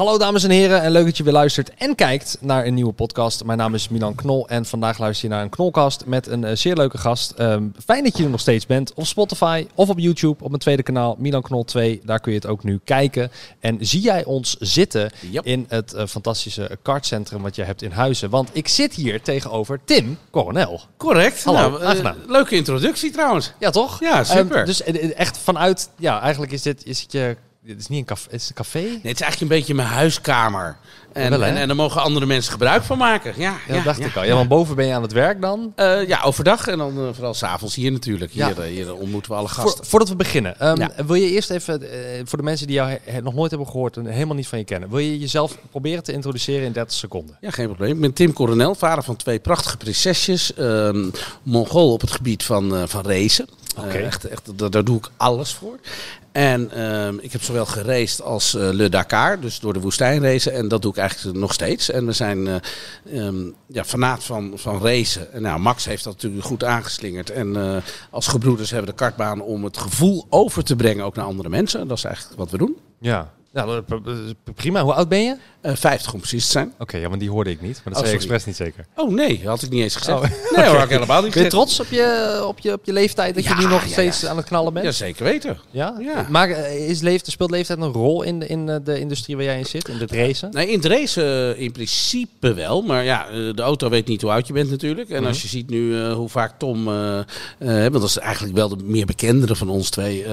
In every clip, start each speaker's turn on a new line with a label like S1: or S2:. S1: Hallo dames en heren en leuk dat je weer luistert en kijkt naar een nieuwe podcast. Mijn naam is Milan Knol en vandaag luister je naar een Knolkast met een eh, zeer leuke gast. Ehm, fijn dat je er nog steeds bent op Spotify of op YouTube op mijn tweede kanaal Milan Knol 2. Daar kun je het ook nu kijken. En zie jij ons zitten
S2: Yep.
S1: in het eh, fantastische kartcentrum wat je hebt in Huizen. Want ik zit hier tegenover Tim Coronel.
S2: Correct.
S1: Hallo,
S2: eh,
S1: aangenaam.
S2: leuke introductie trouwens.
S1: Ja toch?
S2: Ja, super.
S1: Ehm, dus eh, eh, echt vanuit, ja eigenlijk is dit, is het je, dit is niet een café, is het een café?
S2: Nee, het is eigenlijk een beetje mijn huiskamer. En,
S1: Wel, hè?
S2: en, en daar mogen andere mensen gebruik van maken. Ja,
S1: Ja, dat dacht ik al. Ja, want boven ben je aan het werk dan.
S2: Eh, ja, overdag en dan eh, vooral s'avonds hier natuurlijk. Hier,
S1: Ja.
S2: eh, hier ontmoeten we alle
S1: Voor,
S2: gasten.
S1: voordat we beginnen, ehm,
S2: Ja.
S1: wil je eerst even, eh, voor de mensen die jou he- he- nog nooit hebben gehoord en helemaal niet van je kennen, wil je jezelf proberen te introduceren in 30 seconden?
S2: Ja, geen probleem. Ik ben Tim Coronel, vader van twee prachtige prinsesjes. Ehm Mongool op het gebied van, eh, van racen.
S1: Oké.
S2: Eh, echt, echt, daar, daar doe ik alles voor. En ehm, ik heb zowel geraced als eh, Le Dakar, dus door de woestijn racen. En dat doe ik eigenlijk nog steeds. En we zijn eh ehm, ja, fanaat van, van racen. En nou, Max heeft dat natuurlijk goed aangeslingerd. En eh, als gebroeders hebben we de kartbaan om het gevoel over te brengen ook naar andere mensen. En dat is eigenlijk wat we doen.
S1: Ja. Nou, dat- dat- prima. Hoe oud ben je? Oké,
S2: Eh 50 om precies te zijn.
S1: ja, want die hoorde ik niet, maar
S2: Oh, zei je sorry. expres
S1: niet zeker.
S2: Oh nee, had ik niet eens gezegd. Nee hoor, had ik helemaal niet
S1: Ben je
S2: gezegd.
S1: trots op je, op je, op je leeftijd dat
S2: Ja,
S1: je nu nog
S2: ja,
S1: steeds
S2: ja.
S1: aan het knallen bent?
S2: Ja, zeker weten.
S1: Ja?
S2: Ja.
S1: Maar eh, is leeft, speelt leeftijd een rol in de, in eh, de industrie waar jij in zit, in het racen?
S2: Nee, in het racen eh, in principe wel. Maar ja, eh, de auto weet niet hoe oud je bent natuurlijk. En als je ziet nu eh, hoe vaak Tom, eh, eh, want dat is eigenlijk wel de meer bekendere van ons twee, eh,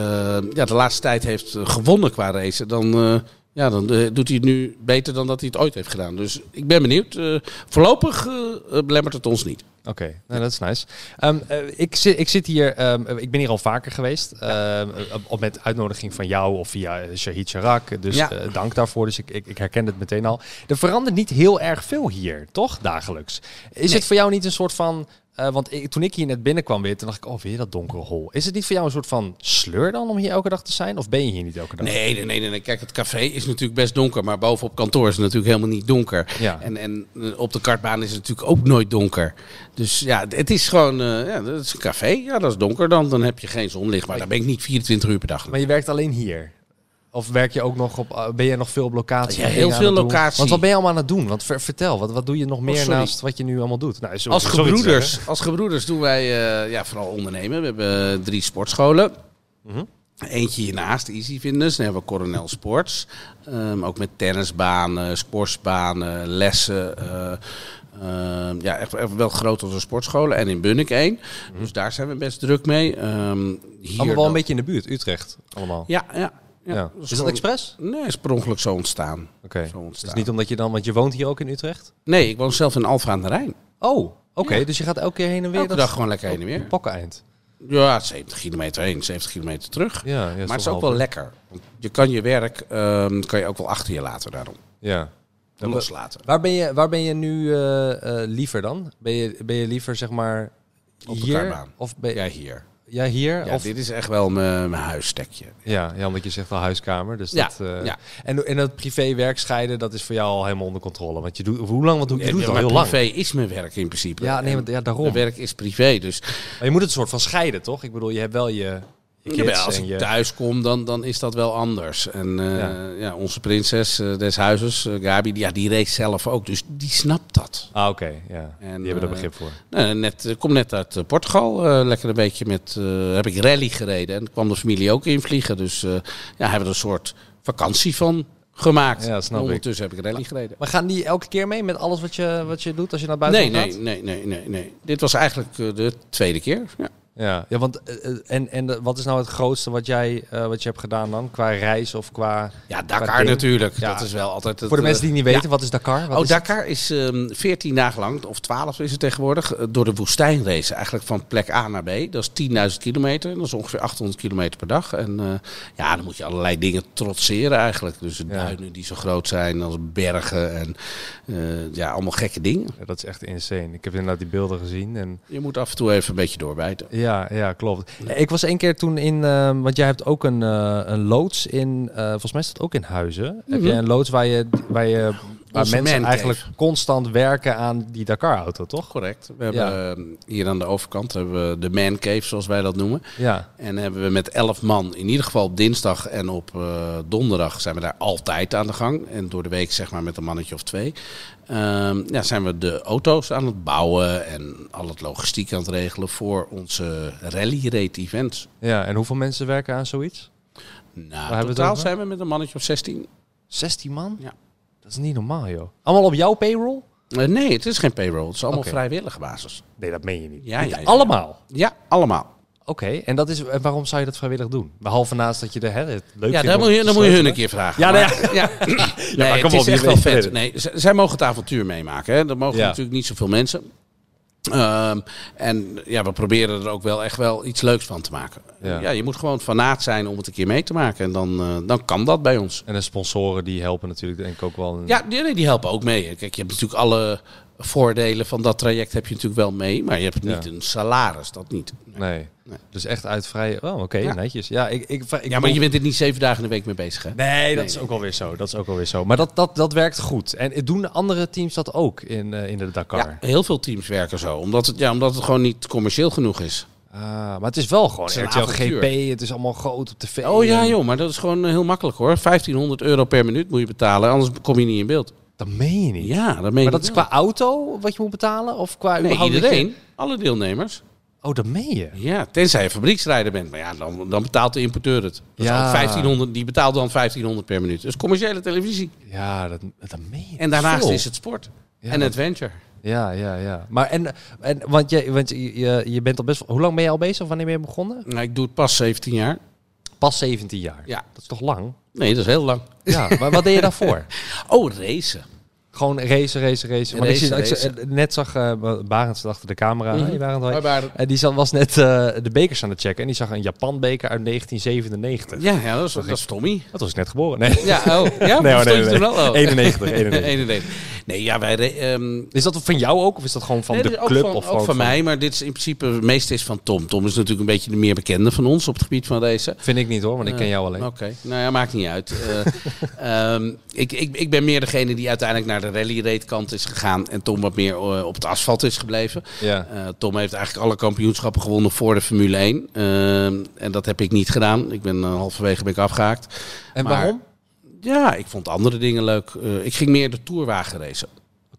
S2: ja, de laatste tijd heeft eh, gewonnen qua racen, dan, eh, ja, dan eh, doet hij het nu beter dan dat hij het ooit heeft gedaan. Dus ik ben benieuwd. Eh, voorlopig eh, eh, belemmert het ons niet.
S1: Oké, nou, dat is nice. Ehm, eh, ik, zit, ik zit hier, ehm, eh, ik ben hier al vaker geweest. ehm, eh, op- op met uitnodiging van jou of via eh, Shahid Sharak. Dus
S2: Ja.
S1: eh, dank daarvoor. Dus ik, ik, ik herken het meteen al. Er verandert niet heel erg veel hier, toch? Dagelijks. Is het voor jou niet een soort van. eh, want ik- toen ik hier net binnenkwam weer, toen dacht ik, oh, weer dat donkere hol. Is het niet voor jou een soort van sleur dan om hier elke dag te zijn? Of ben je hier niet elke dag?
S2: Nee, nee, nee, nee, nee. Kijk, het café is natuurlijk best donker. Maar boven op kantoor is het natuurlijk helemaal niet donker.
S1: Ja.
S2: En, en eh, op de kartbaan is het natuurlijk ook nooit donker. Dus ja, d- het is gewoon... eh, ja, dat is een café. Ja, dat is donker dan. Dan heb je geen zonlicht. Maar daar ben ik niet 24 uur per dag.
S1: Maar je werkt alleen hier? Of werk je ook nog op, eh, ben je nog veel op locatie?
S2: Ja,
S1: Dingen
S2: heel
S1: aan
S2: veel
S1: het doen?
S2: locatie. Oh,
S1: Want wat ben je allemaal aan het doen? Want ver- vertel, wat, wat doe je nog meer
S2: sorry.
S1: naast wat je nu allemaal doet? Nou, zo-
S2: Als
S1: zo iets zeggen.
S2: gebroeders, als gebroeders doen wij eh, ja, vooral ondernemen. We hebben eh, drie sportscholen.
S1: Mhm.
S2: Eentje hiernaast, Easy Fitness. Dan hebben we Coronel Sports. Ehm, ook met tennisbanen, sportsbanen, lessen. eh, ehm, ja, echt, echt wel groot als een sportscholen. En in Bunnik één.
S1: Mhm.
S2: Dus daar zijn we best druk mee. Ehm, hier
S1: Allemaal wel
S2: dan-
S1: een beetje in de buurt, Utrecht. Allemaal.
S2: Ja, ja. ja.
S1: Ja.
S2: Dus
S1: Is dat
S2: gewoon-
S1: expres?
S2: Nee, is per ongeluk zo ontstaan.
S1: Oké.
S2: Zo
S1: Dus
S2: ontstaan.
S1: niet omdat je dan, want je woont hier ook in Utrecht?
S2: Nee, ik woon zelf in Alfa aan de Rijn.
S1: Oh, oké. Dus je gaat elke keer heen en weer?
S2: Elke
S1: Dat-
S2: dag gewoon lekker heen en weer.
S1: Pokkeneind.
S2: Ja, 70 kilometer heen, 70 kilometer terug.
S1: Ja, ja, is
S2: maar
S1: toch
S2: het is ook
S1: half
S2: wel
S1: uur.
S2: lekker. Want je kan je werk ehm, kan je ook wel achter je laten daarom.
S1: Ja. Dan-
S2: Loslaten.
S1: Waar ben je, waar ben je nu eh, eh, liever dan? Ben je, ben je liever zeg maar
S2: Op de
S1: hier?
S2: kartbaan.
S1: Of ben
S2: Ja, hier.
S1: Ja, hier?
S2: Ja,
S1: of,
S2: Dit is echt wel mijn, mijn huisstekje.
S1: ja, ja, omdat je zegt al huiskamer. Dus
S2: Ja,
S1: dat, eh,
S2: ja.
S1: En, en dat privé-werk scheiden, dat is voor jou al helemaal onder controle. Want je doet, hoe lang? Want je doet
S2: Ja,
S1: het al
S2: maar
S1: heel lang.
S2: privé is mijn werk in principe.
S1: Ja, nee,
S2: En
S1: want- ja, daarom.
S2: Mijn werk is privé, dus
S1: Maar je moet het soort van scheiden, toch? Ik bedoel, je hebt wel je, je kids
S2: Jawel, als
S1: en
S2: ik
S1: je...
S2: thuis kom, dan, dan is dat wel anders. En eh,
S1: Ja.
S2: ja. onze prinses eh, des huizes, eh, Gabi, die, ja, die race zelf ook. Dus die snapt dat.
S1: Ah, oké. ja.
S2: En,
S1: die hebben er
S2: eh,
S1: begrip voor.
S2: Nou, net, eh, kom net uit eh, Portugal. eh, lekker een beetje met. eh, heb ik rally gereden. En kwam de familie ook invliegen. Dus eh, ja, hebben we een soort vakantie van gemaakt.
S1: Ja, snap
S2: En
S1: ik.
S2: Ondertussen heb ik rally gereden.
S1: Maar gaan die elke keer mee met alles wat je, wat je doet als je naar buiten
S2: Nee,
S1: gaat?
S2: nee, nee, nee, nee, nee. Dit was eigenlijk eh, de tweede keer. Ja.
S1: Ja, ja want eh, eh, en, en de- wat is nou het grootste wat jij eh, wat je hebt gedaan dan? Qua reis of qua...
S2: Ja,
S1: qua
S2: Dakar
S1: ding?
S2: natuurlijk.
S1: Ja.
S2: Dat is wel altijd. het,
S1: Voor de mensen die
S2: eh,
S1: niet weten, wat is Dakar? Wat
S2: oh,
S1: is
S2: Dakar is ehm 14 dagen lang, of 12 is het tegenwoordig, eh, door de woestijn racen. Eigenlijk van plek A naar B. Dat is 10.000 kilometer. Dat is ongeveer 800 kilometer per dag. En eh, ja, dan moet je allerlei dingen trotseren eigenlijk. Dus de
S1: Ja.
S2: duinen die zo groot zijn als bergen. En eh, ja, allemaal gekke dingen.
S1: Ja, dat is echt insane. Ik heb inderdaad die beelden gezien en...
S2: Je moet af en toe even een beetje doorbijten.
S1: Ja, ja, ja, klopt. Ik was één keer toen in, ehm, want jij hebt ook een, eh, een loods in, eh, volgens mij is dat ook in Huizen. Heb jij een loods waar je, waar je waar
S2: Mhm. Onze
S1: mensen
S2: mancave.
S1: eigenlijk constant werken aan die Dakar-auto, toch?
S2: Correct. We
S1: Ja.
S2: hebben eh, hier aan de overkant hebben we de man cave, zoals wij dat noemen.
S1: Ja.
S2: En hebben we met elf man, in ieder geval op dinsdag en op eh, donderdag, zijn we daar altijd aan de gang. En door de week zeg maar met een mannetje of twee. Ehm, ja, zijn we de auto's aan het bouwen en al het logistiek aan het regelen voor onze rally-rate events.
S1: ja, en hoeveel mensen werken aan zoiets? hebben we
S2: Nou,
S1: het
S2: totaal
S1: over?
S2: zijn we met een mannetje of 16.
S1: 16 man?
S2: Ja.
S1: Dat is niet normaal, joh. Allemaal op jouw payroll?
S2: Eh, nee, het is geen payroll. Het is allemaal
S1: Oké.
S2: vrijwillige basis.
S1: Nee, dat meen je niet.
S2: Ja,
S1: Niet
S2: ja, ja.
S1: Allemaal?
S2: Ja, allemaal.
S1: Oké, en dat is, en waarom zou je dat vrijwillig doen? Behalve naast dat je de, hè, het leuk
S2: Ja,
S1: vindt
S2: daar
S1: om
S2: moet je,
S1: te
S2: dan moet je hun
S1: sleutelen.
S2: een keer vragen.
S1: Ja,
S2: Maar- ja. nee,
S1: maar kom
S2: het is
S1: op, je
S2: echt wel
S1: weet-
S2: vet.
S1: weet
S2: Nee, z- zij mogen het avontuur meemaken. Hè. Er mogen
S1: Ja.
S2: natuurlijk niet zoveel mensen. Ehm, en ja, we proberen er ook wel echt wel iets leuks van te maken.
S1: Ja.
S2: Ja. je moet gewoon fanaat zijn om het een keer mee te maken. En dan, eh, dan kan dat bij ons.
S1: En de sponsoren die helpen natuurlijk denk ik ook wel.
S2: Ja, die, nee, die helpen ook mee. Kijk, je hebt natuurlijk alle voordelen van dat traject heb je natuurlijk wel mee. Maar je hebt niet
S1: Ja.
S2: een salaris, dat niet.
S1: Nee.
S2: Nee.
S1: Dus echt uit vrij. Oh, oké,
S2: Ja.
S1: netjes. Ja, ik, ik, ik,
S2: Ja, maar je bent er niet zeven dagen in de week mee bezig, hè?
S1: Nee, dat is ook alweer zo. Dat is ook alweer zo. Maar dat, dat, dat werkt goed. En eh, doen de andere teams dat ook in, eh, in de Dakar?
S2: Ja, heel veel teams werken zo. Omdat het, ja, omdat het gewoon niet commercieel genoeg is.
S1: Ah, maar het is wel gewoon
S2: Het is een
S1: RTL
S2: avontuur.
S1: GP. Het is allemaal groot op tv.
S2: Oh ja,
S1: en-
S2: joh, maar dat is gewoon eh, heel makkelijk hoor. 1500 euro per minuut moet je betalen, anders kom je niet in beeld.
S1: Dat meen je niet.
S2: Ja, dat meen
S1: maar
S2: je
S1: dat is
S2: wel.
S1: qua auto wat je moet betalen? Of qua
S2: Nee,
S1: überhaupt dat je-
S2: iedereen, alle deelnemers.
S1: Oh, dat meen je?
S2: Ja, tenzij je fabrieksrijder bent. Maar ja, dan, dan betaalt de importeur het. Dat is
S1: Ja.
S2: ook 1500, die betaalt dan 1500 per minuut. Dus commerciële televisie.
S1: Ja, dat, dat meen je.
S2: En daarnaast
S1: Veel.
S2: is het sport.
S1: Ja,
S2: en
S1: dat-
S2: adventure.
S1: Ja, ja, ja. Maar en, en want, je, want je, je- je bent al best... Hoe lang ben je al bezig? Wanneer ben je begonnen?
S2: Nou, ik doe het pas 17 jaar.
S1: Pas 17 jaar.
S2: Ja.
S1: Dat is toch lang?
S2: Nee, dat is heel lang.
S1: Ja, maar wat deed je daarvoor?
S2: Oh, racen.
S1: Gewoon racen, racen, racen. Want
S2: Racen,
S1: ik, zie- ik zie-
S2: racen.
S1: eh, net zag eh, Barend zat achter de camera.
S2: Mhm.
S1: Hey, Barend, hoi.
S2: Hoi, Barend.
S1: En die zat, was net eh, de bekers aan het checken. En die zag een Japan-beker uit 1997.
S2: Ja, ja dat, is, dat is Tommy.
S1: Dat was ik net geboren. Nee,
S2: Ja, oh. Ja,
S1: nee, hoor,
S2: Stond je
S1: nee, nee.
S2: toen al? Oh.
S1: 91, 91.
S2: 91. Nee, ja, wij... re- ehm,
S1: Is dat van jou ook? Of is dat gewoon van
S2: Nee,
S1: de
S2: dit is ook
S1: club?
S2: van-
S1: of
S2: ook van, mij, maar dit is in principe het meeste is van Tom. Tom is natuurlijk een beetje de meer bekende van ons op het gebied van racen.
S1: Vind ik niet hoor, want ik ken jou alleen.
S2: Oké, nou ja, maakt niet uit. Eh, ehm, ik, ik, ik ben meer degene die uiteindelijk naar de rally kant is gegaan en Tom wat meer eh, op het asfalt is gebleven.
S1: Ja.
S2: Eh, Tom heeft eigenlijk alle kampioenschappen gewonnen voor de Formule 1. Ehm, en dat heb ik niet gedaan. Ik ben eh, halverwege ben ik afgehaakt.
S1: en
S2: maar-
S1: waarom? Oké.
S2: Ja, ik vond andere dingen leuk. Eh, ik ging meer de tourwagen racen.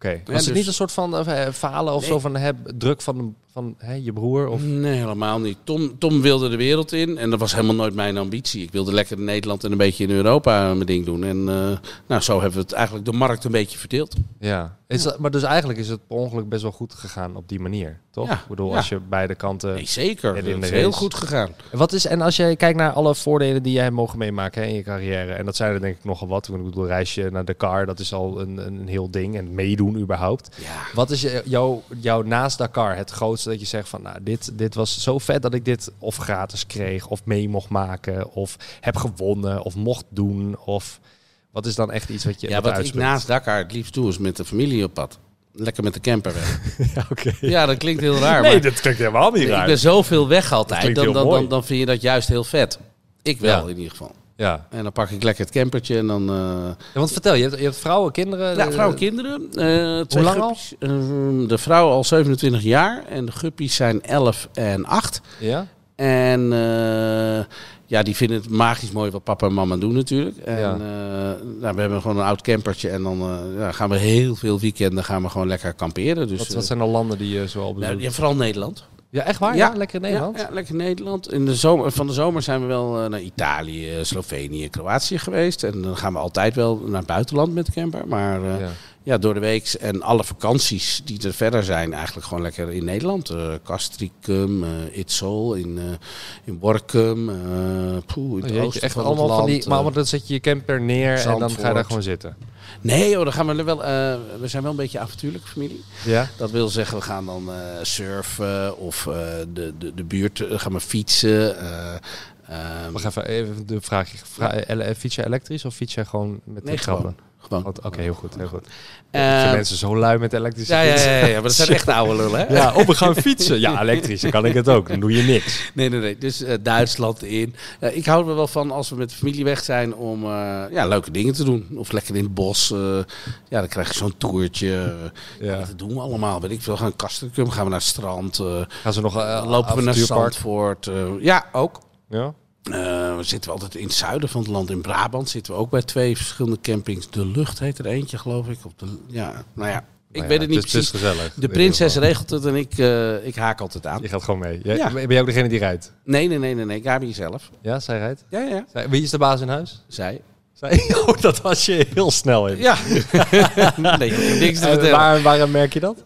S1: Was het
S2: dus-
S1: niet een soort van eh, falen of zo van heb, druk van, van hè, je broer? Of...
S2: Nee, helemaal niet. Tom, Tom wilde de wereld in en dat was helemaal nooit mijn ambitie. Ik wilde lekker in Nederland en een beetje in Europa mijn ding doen. En eh, nou, zo hebben we het eigenlijk de markt een beetje verdeeld.
S1: Ja, is dat- maar dus eigenlijk is het per ongeluk best wel goed gegaan op die manier, toch?
S2: Ja,
S1: Ik bedoel,
S2: ja.
S1: als je beide kanten...
S2: Nee, zeker.
S1: en
S2: Het
S1: in de
S2: is heel
S1: race.
S2: goed gegaan.
S1: Wat is, en als je kijkt naar alle voordelen die jij hebt mogen meemaken hè, in je carrière, en dat zijn er denk ik nogal wat. Ik bedoel, reisje naar Dakar, dat is al een, een heel ding. En meedoen überhaupt.
S2: Ja.
S1: Wat is je- jouw, jouw naast Dakar het grootste dat je zegt van, nou, dit, dit was zo vet dat ik dit of gratis kreeg, of mee mocht maken, of heb gewonnen, of mocht doen, of... Wat is dan echt iets wat je
S2: Ja,
S1: wat
S2: wat ik
S1: uitspringt?
S2: naast Dakar het liefst doe is met de familie op pad. Lekker met de camper weg.
S1: Ja, oké.
S2: Ja, dat klinkt heel raar.
S1: Nee,
S2: maar
S1: dat klinkt helemaal niet
S2: ik
S1: raar.
S2: ben zoveel weg altijd.
S1: klinkt
S2: Dan,
S1: heel
S2: dan,
S1: mooi.
S2: dan, dan vind je dat juist heel vet. Ik wel
S1: Ja.
S2: in ieder geval.
S1: Ja.
S2: En dan pak ik lekker het campertje en dan... eh,
S1: Ja, Want vertel, je hebt, je hebt vrouwen, kinderen.
S2: Ja,
S1: eh,
S2: vrouw en kinderen. eh twee
S1: lang al?
S2: guppies. Ehm, de vrouw al 27 jaar en de guppies zijn 11 en 8.
S1: Ja?
S2: En eh, ja, die vinden het magisch mooi wat papa en mama doen natuurlijk. En
S1: Ja.
S2: eh, nou, we hebben gewoon een oud campertje en dan eh, ja, gaan we heel veel weekenden gaan we gewoon lekker kamperen. Dus,
S1: Wat,
S2: eh,
S1: wat zijn de landen die je zoal bedoelt?
S2: nou, ja,
S1: ja,
S2: vooral Nederland.
S1: echt waar? Ja, lekker in Nederland.
S2: Ja, ja, lekker Nederland. In de zomer, van de zomer zijn we wel eh, naar Italië, Slovenië, Kroatië geweest. En dan gaan we altijd wel naar het buitenland met de camper. Maar eh,
S1: Ja.
S2: ja. door de week en alle vakanties die er verder zijn, eigenlijk gewoon lekker in Nederland. eh Castricum, eh Itzol, in, eh, in Workum, eh poeh, in
S1: Oh,
S2: het
S1: jeetje,
S2: oosten
S1: echt
S2: van
S1: allemaal
S2: het
S1: van
S2: land.
S1: die. Maar
S2: eh.
S1: want dan zet je je camper neer en dan ga je daar
S2: Zandvoort.
S1: gewoon zitten.
S2: Nee joh, dan gaan we wel, eh, we zijn wel een beetje avontuurlijke familie.
S1: Ja.
S2: Dat wil zeggen, we gaan dan eh, surfen of eh, de, de, de buurt eh, gaan we fietsen. eh, ehm,
S1: Wacht even, even de vraagje. Vra eh, ele- fiets je eh, elektrisch of fiets je gewoon met de
S2: Nee, gewoon.
S1: trappen?
S2: Gewoon.
S1: Oké, heel goed. Heel goed.
S2: Eh,
S1: Zijn Oh, mensen zo lui met elektrische
S2: ja, ja,
S1: fietsen?
S2: ja, ja, maar dat zijn echt oude lullen, hè?
S1: Ja, of we gaan fietsen. Ja, elektrisch, dan kan ik het ook. Dan doe je niks.
S2: Nee, nee, nee. Dus eh, Duitsland in. Eh, ik hou er wel van als we met de familie weg zijn om eh, ja, leuke dingen te doen. Of lekker in het bos. eh, ja, dan krijg je zo'n toertje.
S1: Ja.
S2: Dat doen we allemaal. Weet ik veel. We gaan naar Kastrikum, gaan we naar het strand. eh,
S1: Gaan ze nog eh,
S2: lopen we naar
S1: avontuurpark?
S2: Zandvoort. eh, ja, ook.
S1: Ja? Nou
S2: Eh, we zitten altijd in het zuiden van het land. In Brabant zitten we ook bij twee verschillende campings. De Lucht heet er eentje, geloof ik. Op de, ja, nou ja, ik
S1: Nou ja,
S2: weet het niet
S1: is- dus
S2: precies.
S1: Het is gezellig.
S2: de prinses regelt het en ik, eh, ik haak altijd aan.
S1: Je gaat gewoon mee. Jij,
S2: Ja.
S1: Ben jij ook degene die rijdt?
S2: Nee, nee, nee, nee, nee. Gabi zelf.
S1: Ja, zij rijdt?
S2: Ja, ja, ja.
S1: Zij- wie is de baas in huis?
S2: Zij.
S1: Zij, oh, dat was je heel snel in.
S2: Ja. nee, ik heb niks te
S1: En
S2: vertellen.
S1: waar, waarom merk je dat?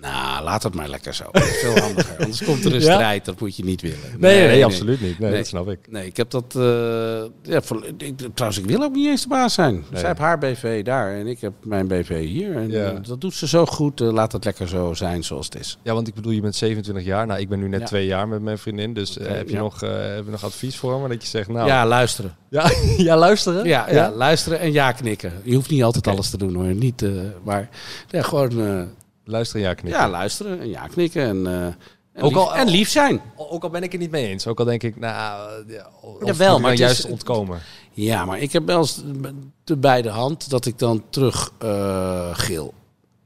S2: Nou, laat het maar lekker zo. Dat is Veel handiger. Anders komt er een
S1: Ja?
S2: strijd. Dat moet je niet willen. Nee,
S1: Nee, nee, absoluut niet. Nee,
S2: Nee.
S1: dat snap ik.
S2: Nee, ik heb dat... eh, ja, voor, ik, trouwens, ik wil ook niet eens de baas zijn.
S1: Nee.
S2: Zij heeft haar BV daar en ik heb mijn BV hier. En
S1: Ja.
S2: eh, dat doet ze zo goed. eh, laat het lekker zo zijn zoals het is.
S1: Ja, want ik bedoel, je bent 27 jaar. Nou, ik ben nu net
S2: Ja.
S1: twee jaar met mijn vriendin. Dus eh,
S2: Oké,
S1: heb, je
S2: ja.
S1: nog, eh, heb je nog advies voor me? Dat je zegt, nou...
S2: Ja, luisteren.
S1: ja, ja, luisteren?
S2: Ja, ja, luisteren en ja knikken. Je hoeft niet altijd alles te doen hoor. Niet, eh, maar ja, gewoon eh,
S1: Luisteren, ja, knikken.
S2: ja, luisteren en ja knikken. En, eh, en,
S1: Ook
S2: lief,
S1: al-
S2: en lief zijn.
S1: O- Ook al ben ik het niet mee eens. Ook al denk ik, nou... eh, Ja, of
S2: Jawel,
S1: moet ik dan
S2: maar het is-
S1: juist ontkomen.
S2: Ja, maar ik heb wel eens de beide hand dat ik dan terug eh, gil.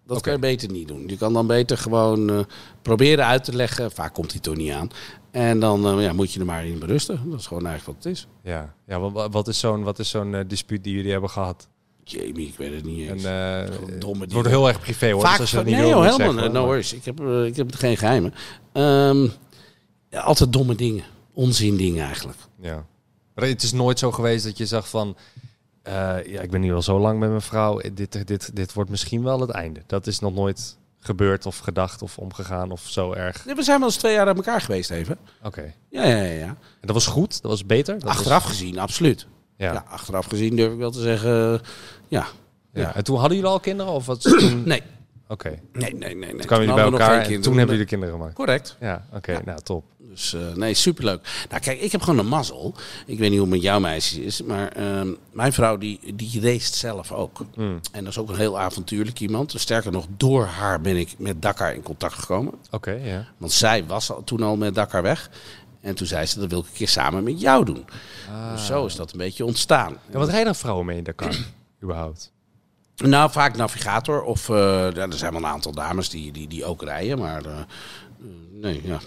S2: Dat
S1: Oké.
S2: kan je beter niet doen. Je kan dan beter gewoon eh, proberen uit te leggen. Vaak komt hij toch niet aan. En dan eh, ja, moet je er maar in berusten. Dat is gewoon eigenlijk wat het is.
S1: Ja, ja wa- wa- wat is zo'n wat is zo'n eh, dispuut die jullie hebben gehad?
S2: Jamie, ik weet het niet
S1: En,
S2: eens.
S1: eh,
S2: gewoon domme
S1: het wordt
S2: dingen.
S1: heel erg privé hoor. dus
S2: Vaak
S1: als je
S2: van,
S1: dat niet Nou,
S2: nee
S1: wil,
S2: joh,
S1: moet je
S2: helemaal
S1: zeggen,
S2: no
S1: maar-
S2: worries. Ik heb, eh, ik heb geen geheimen. Ehm, ja, altijd domme dingen. Onzin dingen eigenlijk.
S1: Ja. Maar het is nooit zo geweest dat je zag van... eh, ja, ik ben nu al zo lang met mijn vrouw. eh, Dit, dit, dit wordt misschien wel het einde. Dat is nog nooit gebeurd of gedacht of omgegaan of zo erg.
S2: Nee, we zijn wel eens twee jaar uit elkaar geweest even.
S1: Oké.
S2: Ja, ja, ja, ja.
S1: En dat was goed? Dat was beter? Dat was-
S2: Achteraf gezien, absoluut.
S1: ja.
S2: Ja.
S1: Ja.
S2: achteraf gezien durf ik wel te zeggen. eh, Ja. ja.
S1: En toen hadden jullie al kinderen? Of wat? toen...
S2: Nee,
S1: Oké. Toen
S2: nee, nee, nee.
S1: kwamen
S2: nee.
S1: jullie bij
S2: hadden we nog
S1: elkaar
S2: geen
S1: en
S2: kinderen.
S1: toen hebben jullie kinderen gemaakt.
S2: eh, Correct.
S1: Ja, oké. Nou, top.
S2: Dus eh, nee, superleuk. Nou, kijk, ik heb gewoon een mazzel. Ik weet niet hoe het met jouw meisje is, maar ehm, mijn vrouw die, die race zelf ook.
S1: Hmm.
S2: En dat is ook een heel avontuurlijk iemand. Dus Sterker nog, door haar ben ik met Dakar in contact gekomen.
S1: Oké, ja.
S2: Want zij was al, toen al met Dakar weg. En toen zei ze, dat wil ik een keer samen met jou doen.
S1: Ah.
S2: Dus zo is dat een beetje ontstaan.
S1: ja. Wat rijden vrouwen mee in Dakar? überhaupt?
S2: Nou, vaak navigator. Of eh, ja, er zijn wel een aantal dames die, die, die ook rijden. Maar eh, eh, nee, ja.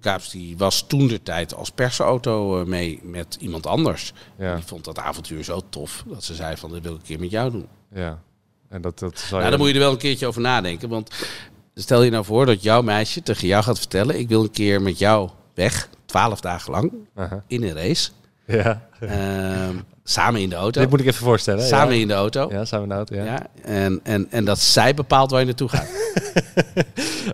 S2: Kaaps die was toen de tijd als persauto eh, mee met iemand anders.
S1: Ja.
S2: En Die vond dat avontuur zo tof dat ze zei van, dat wil ik een keer met jou doen.
S1: Oh, Ja. En dat, dat zou
S2: Nou,
S1: je...
S2: dan moet je er wel een keertje over nadenken. Want stel je nou voor dat jouw meisje tegen jou gaat vertellen... ik wil een keer met jou weg, twaalf dagen lang,
S1: Aha.
S2: in een race.
S1: Ja.
S2: Ehm, samen in de auto.
S1: Dit moet ik even voorstellen. hè?
S2: Samen
S1: ja.
S2: in de auto. Ja.
S1: Ja, samen in de auto, ja.
S2: en, en, en dat zij bepaalt waar je naartoe gaat.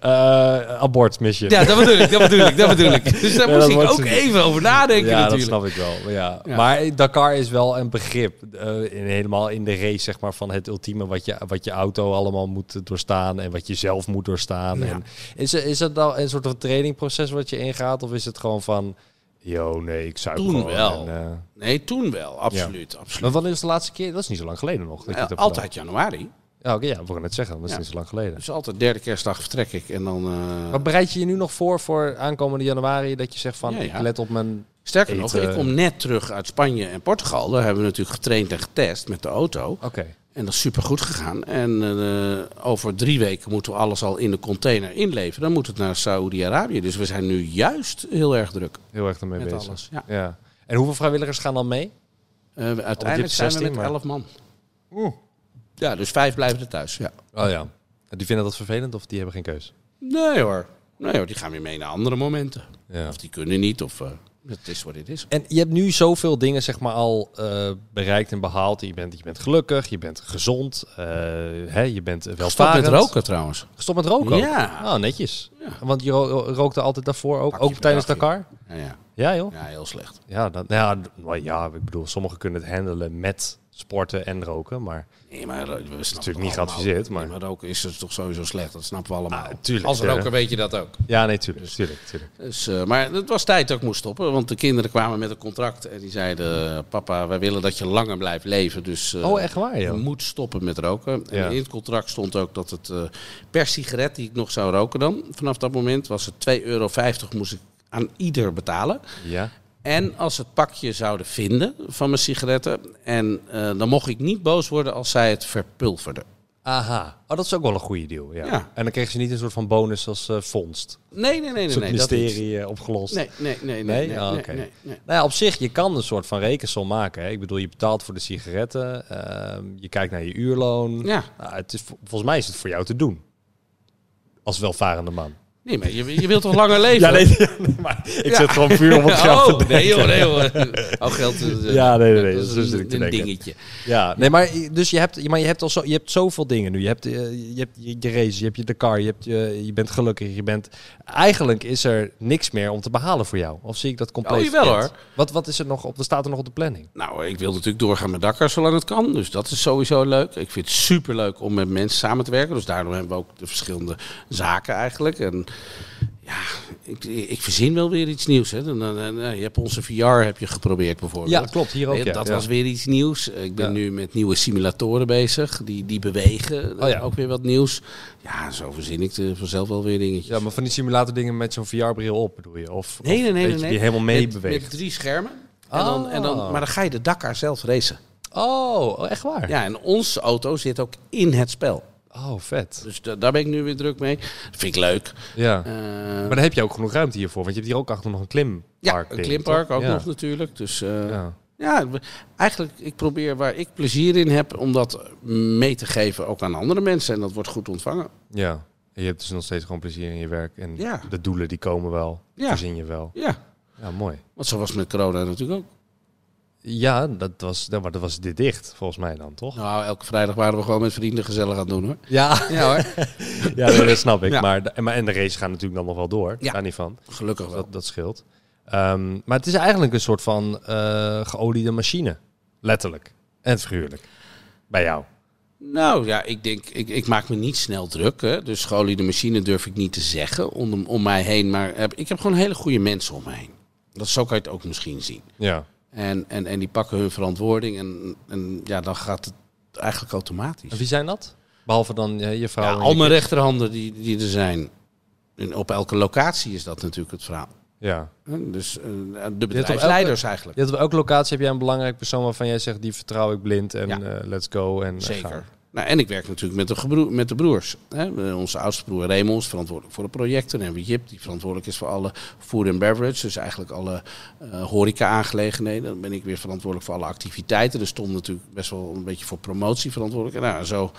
S1: Eh, abort mis je.
S2: Ja, dat bedoel ik, dat bedoel ik, dat bedoel ik. Dus daar
S1: Ja,
S2: moest
S1: dat
S2: ik
S1: wordt
S2: ook
S1: ze-
S2: even over nadenken
S1: Ja, dat
S2: natuurlijk.
S1: snap ik wel. Ja.
S2: Ja.
S1: Maar Dakar is wel een begrip. eh, in, helemaal in de race, zeg maar, van het ultieme wat je, wat je auto allemaal moet doorstaan en wat je zelf moet doorstaan. En is, er- is dat dan een soort van trainingproces wat je ingaat? Of is het gewoon van, yo, nee, ik zuip
S2: Toen
S1: gewoon.
S2: wel.
S1: en, eh,
S2: Nee, toen wel, absoluut. absoluut.
S1: maar wanneer is de laatste keer? Dat is niet zo lang geleden nog. Dat je het hebt
S2: altijd januari.
S1: gedaan. Ja, oké, ja, we gaan het zeggen, dat is
S2: Ja.
S1: niet zo lang geleden.
S2: Dus altijd derde kerstdag vertrek ik. En dan, eh,
S1: Maar bereid je je nu nog voor voor aankomende januari dat je zegt van,
S2: Ja, ja.
S1: ik let op mijn...
S2: sterker nog,
S1: eten.
S2: ik kom net terug uit Spanje en Portugal. Daar hebben we natuurlijk getraind en getest met de auto.
S1: Oké.
S2: En dat is supergoed gegaan. En eh, over drie weken moeten we alles al in de container inleveren. Dan moet het naar Saoedi-Arabië. Dus we zijn nu juist heel erg druk
S1: Heel erg ermee
S2: met
S1: bezig.
S2: alles. Ja.
S1: Ja. En hoeveel vrijwilligers gaan dan mee?
S2: Eh, uiteindelijk zijn
S1: 16,
S2: we met
S1: maar-
S2: elf man. Ja, dus vijf blijven er thuis. Ja.
S1: Oh ja. Die vinden dat vervelend of die hebben geen keus?
S2: Nee hoor. Nee hoor, die gaan weer mee naar andere momenten.
S1: Ja.
S2: Of die kunnen niet, of eh het is wat het is.
S1: En je hebt nu zoveel dingen zeg maar al eh, bereikt en behaald. Je bent, je bent gelukkig, je bent gezond, eh, hè, je bent welvarend.
S2: Stop met roken trouwens.
S1: Gestopt met roken ook?
S2: Ja.
S1: Ah, netjes.
S2: Ja.
S1: Want je ro- ro- rookte altijd daarvoor ook,
S2: Pakje
S1: ook tijdens
S2: per dagje.
S1: Dakar?
S2: Ja, ja.
S1: Ja joh.
S2: ja heel slecht.
S1: Ja, dat, nou ja, d- nou ja, ik bedoel, sommigen kunnen het handelen met sporten en roken, maar
S2: Nee, maar eh, dat is
S1: natuurlijk niet geadviseerd, maar-
S2: Maar roken is het toch sowieso slecht, dat snappen we allemaal.
S1: Ah, tuurlijk,
S2: Als
S1: ja.
S2: roker weet je dat ook.
S1: ja, nee, tuurlijk, tuurlijk, tuurlijk.
S2: Dus, eh, maar het was tijd dat ik moest stoppen, want de kinderen kwamen met een contract en die zeiden: Papa, wij willen dat je langer blijft leven. Dus, eh,
S1: Oh, echt waar,
S2: Je
S1: joh?
S2: moet stoppen met roken. En
S1: Ja.
S2: in het contract stond ook dat het eh, per sigaret die ik nog zou roken dan, vanaf dat moment was het 2,50 euro moest ik aan ieder betalen.
S1: Ja.
S2: En als ze het pakje zouden vinden van mijn sigaretten, en eh, dan mocht ik niet boos worden als zij het verpulverden.
S1: Aha. Oh, dat is ook wel een goede deal, ja.
S2: Ja.
S1: En dan kreeg je niet een soort van bonus als eh vondst.
S2: Nee, nee, nee,
S1: Een
S2: nee.
S1: soort
S2: nee dat niet.
S1: mysterie eh, opgelost.
S2: Nee, nee, nee, nee.
S1: Nee?
S2: nee,
S1: Ah,
S2: nee,
S1: oké.
S2: nee, nee.
S1: Nou ja, op zich, je kan een soort van rekensom maken. Hè. Ik bedoel, je betaalt voor de sigaretten. ehm, je kijkt naar je uurloon.
S2: Ja.
S1: Nou, het is, vo- volgens mij is het voor jou te doen. Als welvarende man.
S2: Nee, maar je, je wilt toch langer leven?
S1: Ja, nee, nee, maar ik zit gewoon puur om het grap te
S2: Oh, nee
S1: denken.
S2: joh, nee joh. Oh, geld. eh,
S1: Ja, nee, nee, nee, dat
S2: een,
S1: is natuurlijk te
S2: een
S1: denken.
S2: dingetje.
S1: Ja, nee, maar dus je hebt, maar je hebt, al zo, je hebt zoveel dingen nu. Je hebt, eh, je, hebt je, je race, je hebt je Dakar, je, hebt, je, je bent gelukkig. Je bent, eigenlijk is er niks meer om te behalen voor jou. Of zie ik dat compleet
S2: Oh, jawel,
S1: verkeerd?
S2: hoor.
S1: Wat, wat is er nog op, wat staat er nog op de planning?
S2: Nou, ik wil natuurlijk doorgaan met Dakar zolang het kan. Dus dat is sowieso leuk. Ik vind het superleuk om met mensen samen te werken. Dus daardoor hebben we ook de verschillende zaken eigenlijk. En ja, ik, ik verzin wel weer iets nieuws. Hè. Dan, dan- dan- eh, je hebt onze VR heb je geprobeerd bijvoorbeeld.
S1: Ja, klopt, hier ook,
S2: Eh,
S1: ja,
S2: Dat
S1: ja.
S2: was weer iets nieuws. Eh, Ik ben
S1: Ja.
S2: nu met nieuwe simulatoren bezig. Die, die bewegen. eh,
S1: Oh, ja.
S2: Ook weer wat nieuws. Ja, zo verzin ik er vanzelf wel weer dingetjes.
S1: Ja, maar van die simulator dingen met zo'n VR-bril op bedoel je? Of,
S2: Nee, nee, nee. nee, nee.
S1: die helemaal
S2: Met,
S1: meebeweegt?
S2: met drie schermen. En dan, en dan,
S1: Ah.
S2: maar dan ga je de Dakar zelf racen.
S1: Oh, oh, echt waar?
S2: Ja, en onze auto zit ook in het spel.
S1: Oh, vet.
S2: Dus da- daar ben ik nu weer druk mee. Vind ik leuk.
S1: Ja.
S2: Eh,
S1: maar dan heb je ook genoeg ruimte hiervoor. Want je hebt hier ook achter nog een klimpark.
S2: ja, een
S1: ding,
S2: klimpark
S1: toch?
S2: ook
S1: Ja.
S2: nog natuurlijk. Dus eh, ja.
S1: Ja.
S2: we- eigenlijk ik probeer waar ik plezier in heb om dat mee te geven ook aan andere mensen. En dat wordt goed ontvangen.
S1: ja. En je hebt dus nog steeds gewoon plezier in je werk. En
S2: Ja.
S1: de doelen die komen wel.
S2: Ja.
S1: Verzin je wel.
S2: Ja,
S1: Ja, mooi.
S2: want zo was het met corona natuurlijk ook.
S1: Ja, dat was, dat, maar dat was dit dicht, volgens mij dan, toch?
S2: Nou, elke vrijdag waren we gewoon met vrienden gezellig aan het doen hoor.
S1: Ja,
S2: Ja hoor,
S1: ja nee, dat snap ik.
S2: Ja.
S1: Maar, de- en- maar, en de race gaan natuurlijk dan nog wel door.
S2: Ja.
S1: Daar niet van.
S2: gelukkig wel.
S1: Dat, dat scheelt. Ehm, maar het is eigenlijk een soort van eh, geoliede machine. Letterlijk. En figuurlijk. Bij jou.
S2: Nou ja, ik denk, ik, ik maak me niet snel druk. Hè. Dus de machine durf ik niet te zeggen om, om mij heen. Maar heb, ik heb gewoon hele goede mensen om me heen. Dat zo kan je het ook misschien zien.
S1: Ja.
S2: En, en, en die pakken hun verantwoording en, en ja, dan gaat het eigenlijk automatisch.
S1: En wie zijn dat? Behalve dan eh, je vrouw.
S2: Ja,
S1: en je
S2: al mijn
S1: kind.
S2: rechterhanden die, die er zijn. En op elke locatie is dat natuurlijk het verhaal.
S1: Ja.
S2: Hè, Dus eh, de
S1: elke-
S2: bedrijfsleiders
S1: Je
S2: eigenlijk.
S1: hebt op elke locatie heb jij een belangrijk persoon waarvan jij zegt, die vertrouw ik blind en
S2: Ja.
S1: eh, let's go. En, eh, gaan.
S2: Zeker. Nou, en ik werk natuurlijk met de, gebroe- met de broers. Hè. Eh, Onze oudste broer Raymond is verantwoordelijk voor de projecten. En we hebben Jip, die verantwoordelijk is voor alle food and beverage. Dus eigenlijk alle eh, horeca-aangelegenheden. Dan ben ik weer verantwoordelijk voor alle activiteiten. Dus Tom natuurlijk best wel een beetje voor promotie verantwoordelijk. En nou, zo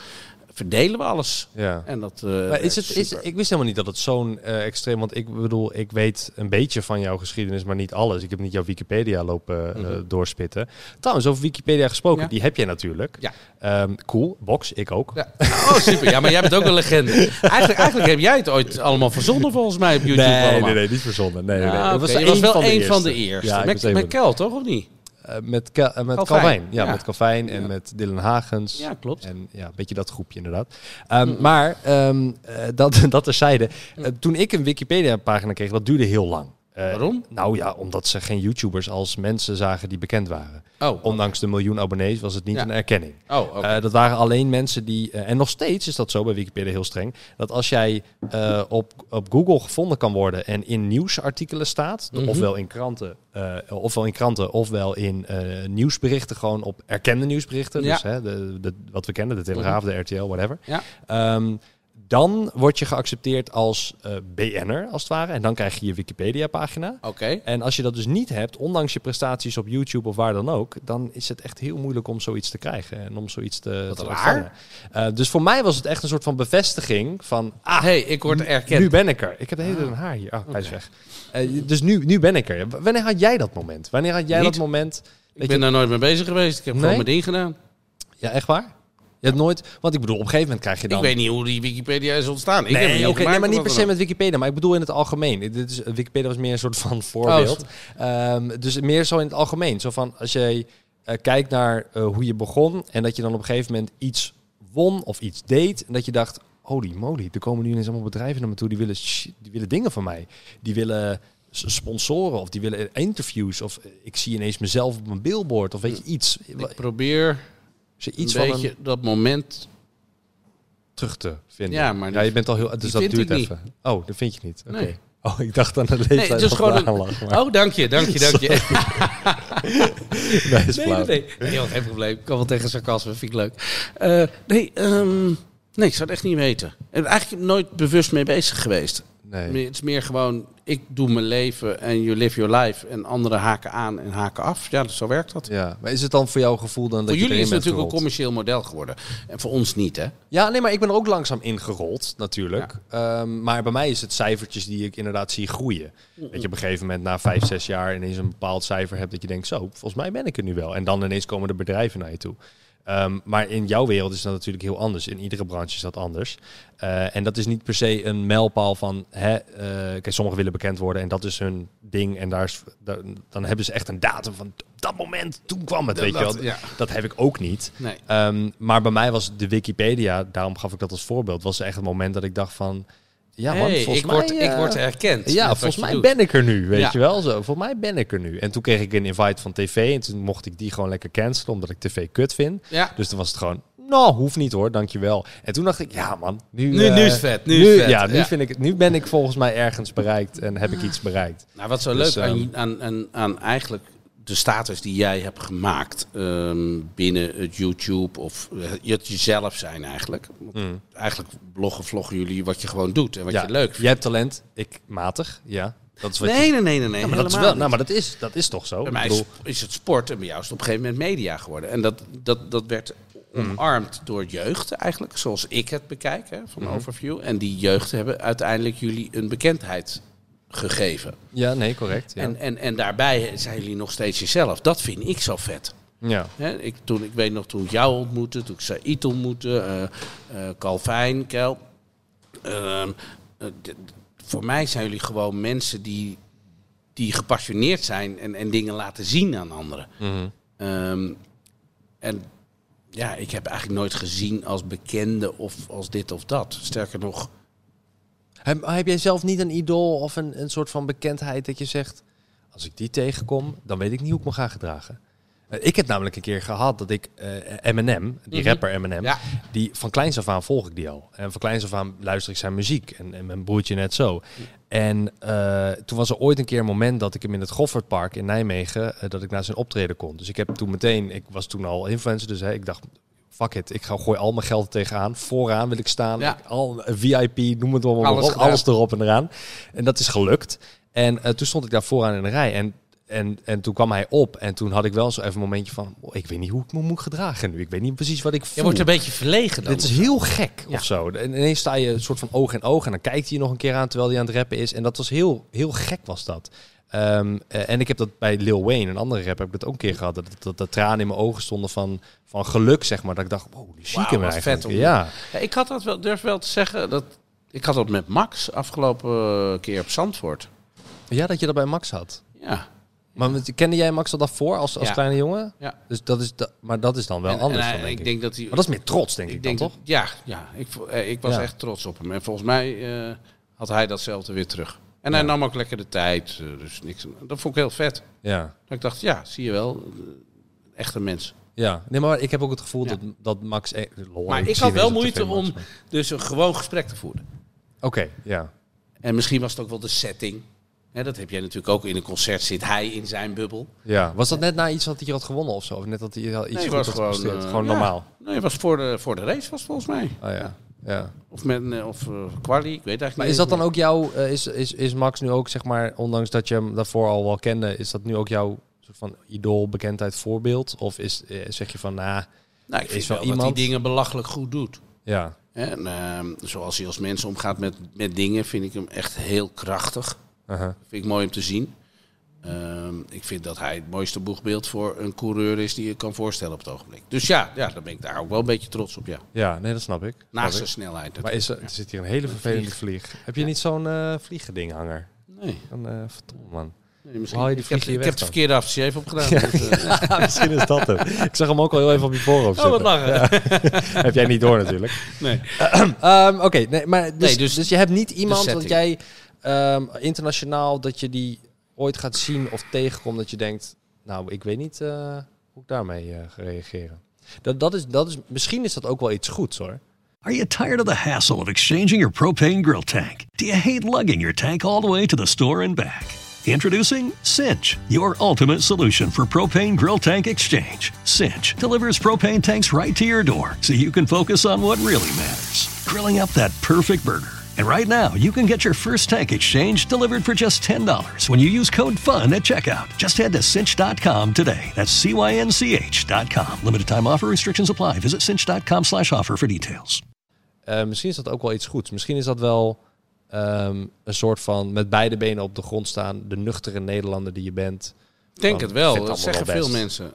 S2: verdelen we alles.
S1: Ja.
S2: En dat, eh,
S1: Maar is het, is,
S2: super.
S1: ik wist helemaal niet dat het zo'n eh, extreem... Want ik bedoel, ik weet een beetje van jouw geschiedenis, maar niet alles. Ik heb niet jouw Wikipedia lopen eh, doorspitten. Trouwens, over Wikipedia gesproken,
S2: Mhm. Ja.
S1: die heb jij natuurlijk.
S2: Ja.
S1: Ehm, cool, box, ik ook.
S2: Ja. Oh, super. Ja, maar jij bent ook een legende. Eigenlijk, eigenlijk heb jij het ooit allemaal verzonnen volgens mij op YouTube
S1: Nee,
S2: allemaal.
S1: nee, nee, niet verzonnen. Nee, nee,
S2: Ah,
S1: nee. Het
S2: oké. Je was
S1: één
S2: wel een van de
S1: eerste.
S2: eerste.
S1: Ja, ik
S2: met
S1: was één
S2: met
S1: van de-
S2: Kel, toch? Of niet?
S1: eh, met Kel- eh, met
S2: Calvijn.
S1: Calvijn. Ja,
S2: Ja.
S1: met Calvijn en met Dylan Hagens.
S2: Ja, klopt.
S1: En ja, een beetje dat groepje inderdaad. Ehm, Maar ehm, eh, dat, dat terzijde.
S2: Mm.
S1: Eh, toen ik een Wikipedia-pagina kreeg, dat duurde heel lang. Eh,
S2: Waarom?
S1: Nou ja, omdat ze geen YouTubers als mensen zagen die bekend waren.
S2: Oh.
S1: Ondanks de miljoen abonnees was het niet
S2: Ja.
S1: een erkenning.
S2: Oh, oké.
S1: Eh, dat waren alleen mensen die... eh, en nog steeds is dat zo bij Wikipedia heel streng. Dat als jij eh, op, op Google gevonden kan worden en in nieuwsartikelen staat...
S2: Mhm.
S1: ofwel, in kranten, eh, ofwel in kranten, ofwel in eh, nieuwsberichten, gewoon op erkende nieuwsberichten.
S2: Ja. Mhm.
S1: Dus hè, de, de, wat we kennen, de Telegraaf, de RTL, whatever.
S2: Ja.
S1: Ehm, dan word je geaccepteerd als eh, BN'er, als het ware. En dan krijg je je Wikipedia-pagina.
S2: Oké.
S1: En als je dat dus niet hebt, ondanks je prestaties op YouTube of waar dan ook, dan is het echt heel moeilijk om zoiets te krijgen en om zoiets te, te
S2: raar.
S1: ontvangen. Eh, dus voor mij was het echt een soort van bevestiging van, ah,
S2: hey, ik word erkend.
S1: nu ben ik er. Ik heb de hele tijd een haar hier. Ah, hij is weg. Eh, dus nu, nu ben ik er. W- Wanneer had jij dat moment? Wanneer had jij
S2: Niet.
S1: dat moment?
S2: ik
S1: dat
S2: ben
S1: je,
S2: daar nooit mee bezig geweest. Ik heb
S1: Nee?
S2: gewoon mijn ding gedaan.
S1: ja, echt waar? Je hebt nooit, want ik bedoel, op een gegeven moment krijg je dan...
S2: Ik weet niet hoe die Wikipedia is ontstaan. Ik heb het
S1: Nee,
S2: niet
S1: oké, nee,
S2: gemaakt
S1: maar niet
S2: of
S1: per
S2: wat
S1: se
S2: dan
S1: met Wikipedia, maar ik bedoel in het algemeen. Dit is,
S2: Oh,
S1: Wikipedia was meer een soort van voorbeeld. Ehm, dus meer zo in het algemeen. Zo van als jij eh, kijk naar eh, hoe je begon en dat je dan op een gegeven moment iets won of iets deed en dat je dacht, holy moly, er komen nu ineens allemaal bedrijven naar me toe die willen, shit, die willen dingen van mij. Die willen s- sponsoren of die willen interviews of eh, ik zie ineens mezelf op mijn billboard of weet je iets.
S2: Ik probeer
S1: Is er iets
S2: een
S1: van
S2: beetje
S1: een
S2: dat moment.
S1: terug te vinden.
S2: Ja, maar
S1: ja, je bent al heel, dus dat
S2: vind
S1: duurt
S2: ik niet.
S1: even. Oh, dat vind je niet. Oké.
S2: Nee.
S1: Oh, ik dacht aan de leeftijd
S2: Nee, het is
S1: van de
S2: gewoon. Een...
S1: aanlag, maar-
S2: Oh, dank je, dank je, dank je.
S1: Nee, is
S2: Nee,
S1: flauw.
S2: nee, nee. Nee, joh, geen probleem. Ik kan wel tegen sarcasme, vind ik leuk. Eh, nee, ehm, nee, ik zou het echt niet weten. Ik ben eigenlijk nooit bewust mee bezig geweest.
S1: Nee.
S2: Meer- Het is meer gewoon, ik doe mijn leven en you live your life. En anderen haken aan en haken af. Ja, dus zo werkt dat.
S1: Ja, maar is het dan voor jouw gevoel dan dat
S2: voor
S1: je
S2: jullie
S1: erin
S2: is het
S1: bent
S2: natuurlijk een
S1: gerold?
S2: commercieel model geworden. En voor ons niet, hè?
S1: Ja, nee, maar ik ben er ook langzaam ingerold, natuurlijk. Ehm, maar bij mij is het cijfertjes die ik inderdaad zie groeien. Dat je op een gegeven moment na vijf, zes jaar ineens een bepaald cijfer hebt dat je denkt, zo, volgens mij ben ik er nu wel. En dan ineens komen de bedrijven naar je toe. Ehm, maar in jouw wereld is dat natuurlijk heel anders. In iedere branche is dat anders. Eh, en dat is niet per se een mijlpaal van, hè, eh, kijk, sommigen willen bekend worden en dat is hun ding. En daar is, daar- dan hebben ze echt een datum van, op dat moment, toen kwam het, weet je wel.
S2: ja.
S1: Dat heb ik ook niet.
S2: Nee.
S1: Ehm, maar bij mij was de Wikipedia, daarom gaf ik dat als voorbeeld, was echt het moment dat ik dacht van, ja man,
S2: Hey,
S1: volgens
S2: ik,
S1: mij...
S2: word, ik
S1: eh,
S2: word erkend.
S1: ja,
S2: met wat
S1: volgens
S2: je
S1: mij
S2: doet.
S1: ben ik er nu, weet
S2: Ja.
S1: je wel. Zo, volgens mij ben ik er nu. En toen kreeg ik een invite van tv en toen mocht ik die gewoon lekker cancelen, omdat ik tv kut vind.
S2: Ja.
S1: Dus toen was het gewoon, nou, hoeft niet hoor, dankjewel. En toen dacht ik, ja man, nu...
S2: Nu-
S1: eh,
S2: nu is het vet, nu is het vet,
S1: Ja, nu,
S2: ja.
S1: Vind ik, het- nu ben ik volgens mij ergens bereikt en heb ik iets bereikt.
S2: Nou, wat zo leuk
S1: Dus,
S2: aan, aan, aan, aan eigenlijk de status die jij hebt gemaakt ehm, binnen het YouTube of eh, het jezelf zijn eigenlijk. Want Eigenlijk bloggen, vloggen jullie wat je gewoon doet en wat
S1: Mm. ja,
S2: je leuk
S1: Je
S2: vindt.
S1: hebt talent, ik matig, ja. Dat is wat je...
S2: Nee, nee, nee, nee, nee.
S1: Ja, maar dat is
S2: helemaal
S1: wel,
S2: niet.
S1: nou, maar dat is, dat is toch zo?
S2: Bij
S1: Ik
S2: mij is,
S1: bedoel-
S2: is het sport en bij jou is het op een gegeven moment media geworden. En dat, dat, dat werd
S1: Mhm.
S2: omarmd door jeugd eigenlijk, zoals ik het bekijk hè, van
S1: Mhm.
S2: Overview. En die jeugd hebben uiteindelijk jullie een bekendheid gegeven.
S1: Ja, nee, correct. Ja.
S2: En, en, en daarbij zijn jullie nog steeds jezelf. Dat vind ik zo vet.
S1: ja.
S2: Hè, ik, toen, ik weet nog toen ik jou ontmoette, toen ik Said ontmoette, eh eh, Calvijn, Kel. Ehm, eh, d- d- voor mij zijn jullie gewoon mensen die, die gepassioneerd zijn en, en dingen laten zien aan anderen.
S1: mhm.
S2: Ehm, en ja, ik heb eigenlijk nooit gezien als bekende of als dit of dat. Sterker nog,
S1: Heb, heb jij zelf niet een idool of een, een soort van bekendheid dat je zegt... als ik die tegenkom, dan weet ik niet hoe ik me ga gedragen? Eh, Ik heb namelijk een keer gehad dat ik eh, Eminem, die rapper Eminem,
S2: Mhm. Ja.
S1: die van kleins af aan volg ik die al. En van kleins af aan luister ik zijn muziek en, en mijn broertje net zo. En eh, toen was er ooit een keer een moment dat ik hem in het Goffertpark in Nijmegen, eh, dat ik naar zijn optreden kon. Dus ik heb toen meteen, ik was toen al influencer, dus hè, ik dacht, fuck it, ik ga gooi al mijn geld er tegenaan. Vooraan wil ik staan,
S2: Ja.
S1: Ik- al eh, VIP, noem het allemaal maar
S2: Alles
S1: op,
S2: gedaan.
S1: alles erop en eraan. En dat is gelukt. En eh, toen stond ik daar vooraan in de rij. En, en, en toen kwam hij op. En toen had ik wel zo even een momentje van... "Oh, ik weet niet hoe ik me moet gedragen nu. Ik weet niet precies wat ik voel.
S2: je wordt een beetje verlegen dan.
S1: Dit is heel gek of zo. En ineens sta je een soort van oog in oog. En dan kijkt hij je nog een keer aan terwijl hij aan het rappen is. En dat was heel, heel gek was dat. Ehm, eh, en ik heb dat bij Lil Wayne, een andere rapper, heb ik dat ook een keer gehad. Dat, dat, dat tranen in mijn ogen stonden van, van geluk, zeg maar. Dat ik dacht, wow, die zieke
S2: Wauw,
S1: me
S2: wat
S1: eigenlijk.
S2: vet om-
S1: ja.
S2: Ja, ik had dat wel, durf wel te zeggen. Dat, ik had dat met Max afgelopen eh, keer op Zandvoort.
S1: ja, dat je dat bij Max had.
S2: Ja.
S1: Maar met- kende jij Max al daarvoor als, als
S2: Ja.
S1: kleine jongen?
S2: Ja.
S1: Dus dat is da- maar dat is dan wel
S2: En-
S1: anders.
S2: en hij-
S1: dan, denk ik,
S2: ik denk dat hij.
S1: maar dat is meer trots, denk ik,
S2: ik denk
S1: dan,
S2: dat-
S1: toch?
S2: Ja, ja ik, vo- eh, ik was
S1: Ja.
S2: echt trots op hem. En volgens mij eh, had hij datzelfde weer terug. En hij nam ook lekker de tijd. eh, Dus niks. Dat vond ik heel vet.
S1: Ja.
S2: Dat ik dacht, ja, zie je wel. eh, Echte mens.
S1: ja. Nee, maar ik heb ook het gevoel
S2: Ja.
S1: dat, dat Max... e- Lol,
S2: Maar ik
S1: zie
S2: had
S1: weer
S2: wel
S1: zo
S2: moeite
S1: tv Max,
S2: om
S1: maar-
S2: dus een gewoon gesprek te voeren.
S1: Oké, ja.
S2: En misschien was het ook wel de setting. Hè, dat heb jij natuurlijk ook. In een concert zit hij in zijn bubbel.
S1: ja. Was dat net na iets dat hij had gewonnen of zo? Of net dat hij al iets
S2: Nee,
S1: goed
S2: was
S1: had
S2: gewoon,
S1: gepresteerd?
S2: eh,
S1: gewoon
S2: ja.
S1: normaal?
S2: Nee, het was voor de, voor de race was het volgens mij.
S1: Oh, ja. ja.
S2: Of, met, eh, of eh, quali, ik weet eigenlijk
S1: Maar
S2: niet
S1: is dat
S2: eens
S1: dan ook jouw... eh, is, is, is Max nu ook, zeg maar, ondanks dat je hem daarvoor al wel kende... is dat nu ook jouw soort van idool, bekendheid, voorbeeld? Of is, eh, zeg je van, nou...
S2: meer. Nou, ik vind
S1: is wel
S2: wel iemand... dat
S1: iemand-
S2: hij dingen belachelijk goed doet.
S1: ja.
S2: En ehm, zoals hij als mensen omgaat met, met dingen, vind ik hem echt heel krachtig.
S1: aha.
S2: Vind ik mooi om te zien. Ehm, ik vind dat hij het mooiste boegbeeld voor een coureur is die je kan voorstellen op het ogenblik. Dus ja, ja dan ben ik daar ook wel een beetje trots op. Ja.
S1: Ja, nee, dat snap ik. Snap
S2: Naast
S1: ik.
S2: zijn snelheid.
S1: Maar is er, er zit hier een hele vervelende vlieg. Heb je niet zo'n eh vliegedinghanger?
S2: Nee.
S1: Een eh verdomme, man.
S2: Nee, misschien-
S3: haal je die
S2: ik heb,
S3: vlieg hier
S2: ik
S3: weg
S2: heb de
S3: dan?
S2: verkeerde aftershave opgedaan. dus, eh,
S3: Ja, misschien is dat het. Ik zag hem ook al heel even op je voorhoofd
S2: oh, wat
S3: zitten.
S2: lachen.
S3: Heb jij niet door natuurlijk.
S2: Nee.
S1: Ehm, Oké, nee, maar dus,
S2: Nee,
S1: dus,
S2: dus
S1: je hebt niet iemand dat
S2: setting.
S1: jij ehm, internationaal dat je die ooit gaat zien of tegenkomt dat je denkt, nou, ik weet niet eh, hoe ik daarmee eh, ga reageren. Dat, dat is, dat is, misschien is dat ook wel iets goeds hoor.
S4: Are you tired of the hassle of exchanging your propane grill tank? Do you hate lugging your tank all the way to the store and back? Introducing Cinch, your ultimate solution for propane grill tank exchange. Cinch delivers propane tanks right to your door so you can focus on what really matters grilling up that perfect burger. And right now, you can get your first tank exchange delivered for just $10 when you use code FUN at checkout. Just head to cinch.com today. That's C-Y-N-C-H.com. Limited time offer restrictions apply. Visit cinch.com slash offer for details.
S1: Eh, misschien is dat ook wel iets goeds. Misschien is dat wel ehm, een soort van met beide benen op de grond staan, de nuchtere Nederlander die je bent.
S2: Ik denk
S1: Want ik
S2: het
S1: vind
S2: wel.
S1: het
S2: Dat
S1: allemaal
S2: zeggen
S1: wel
S2: veel
S1: best.
S2: mensen.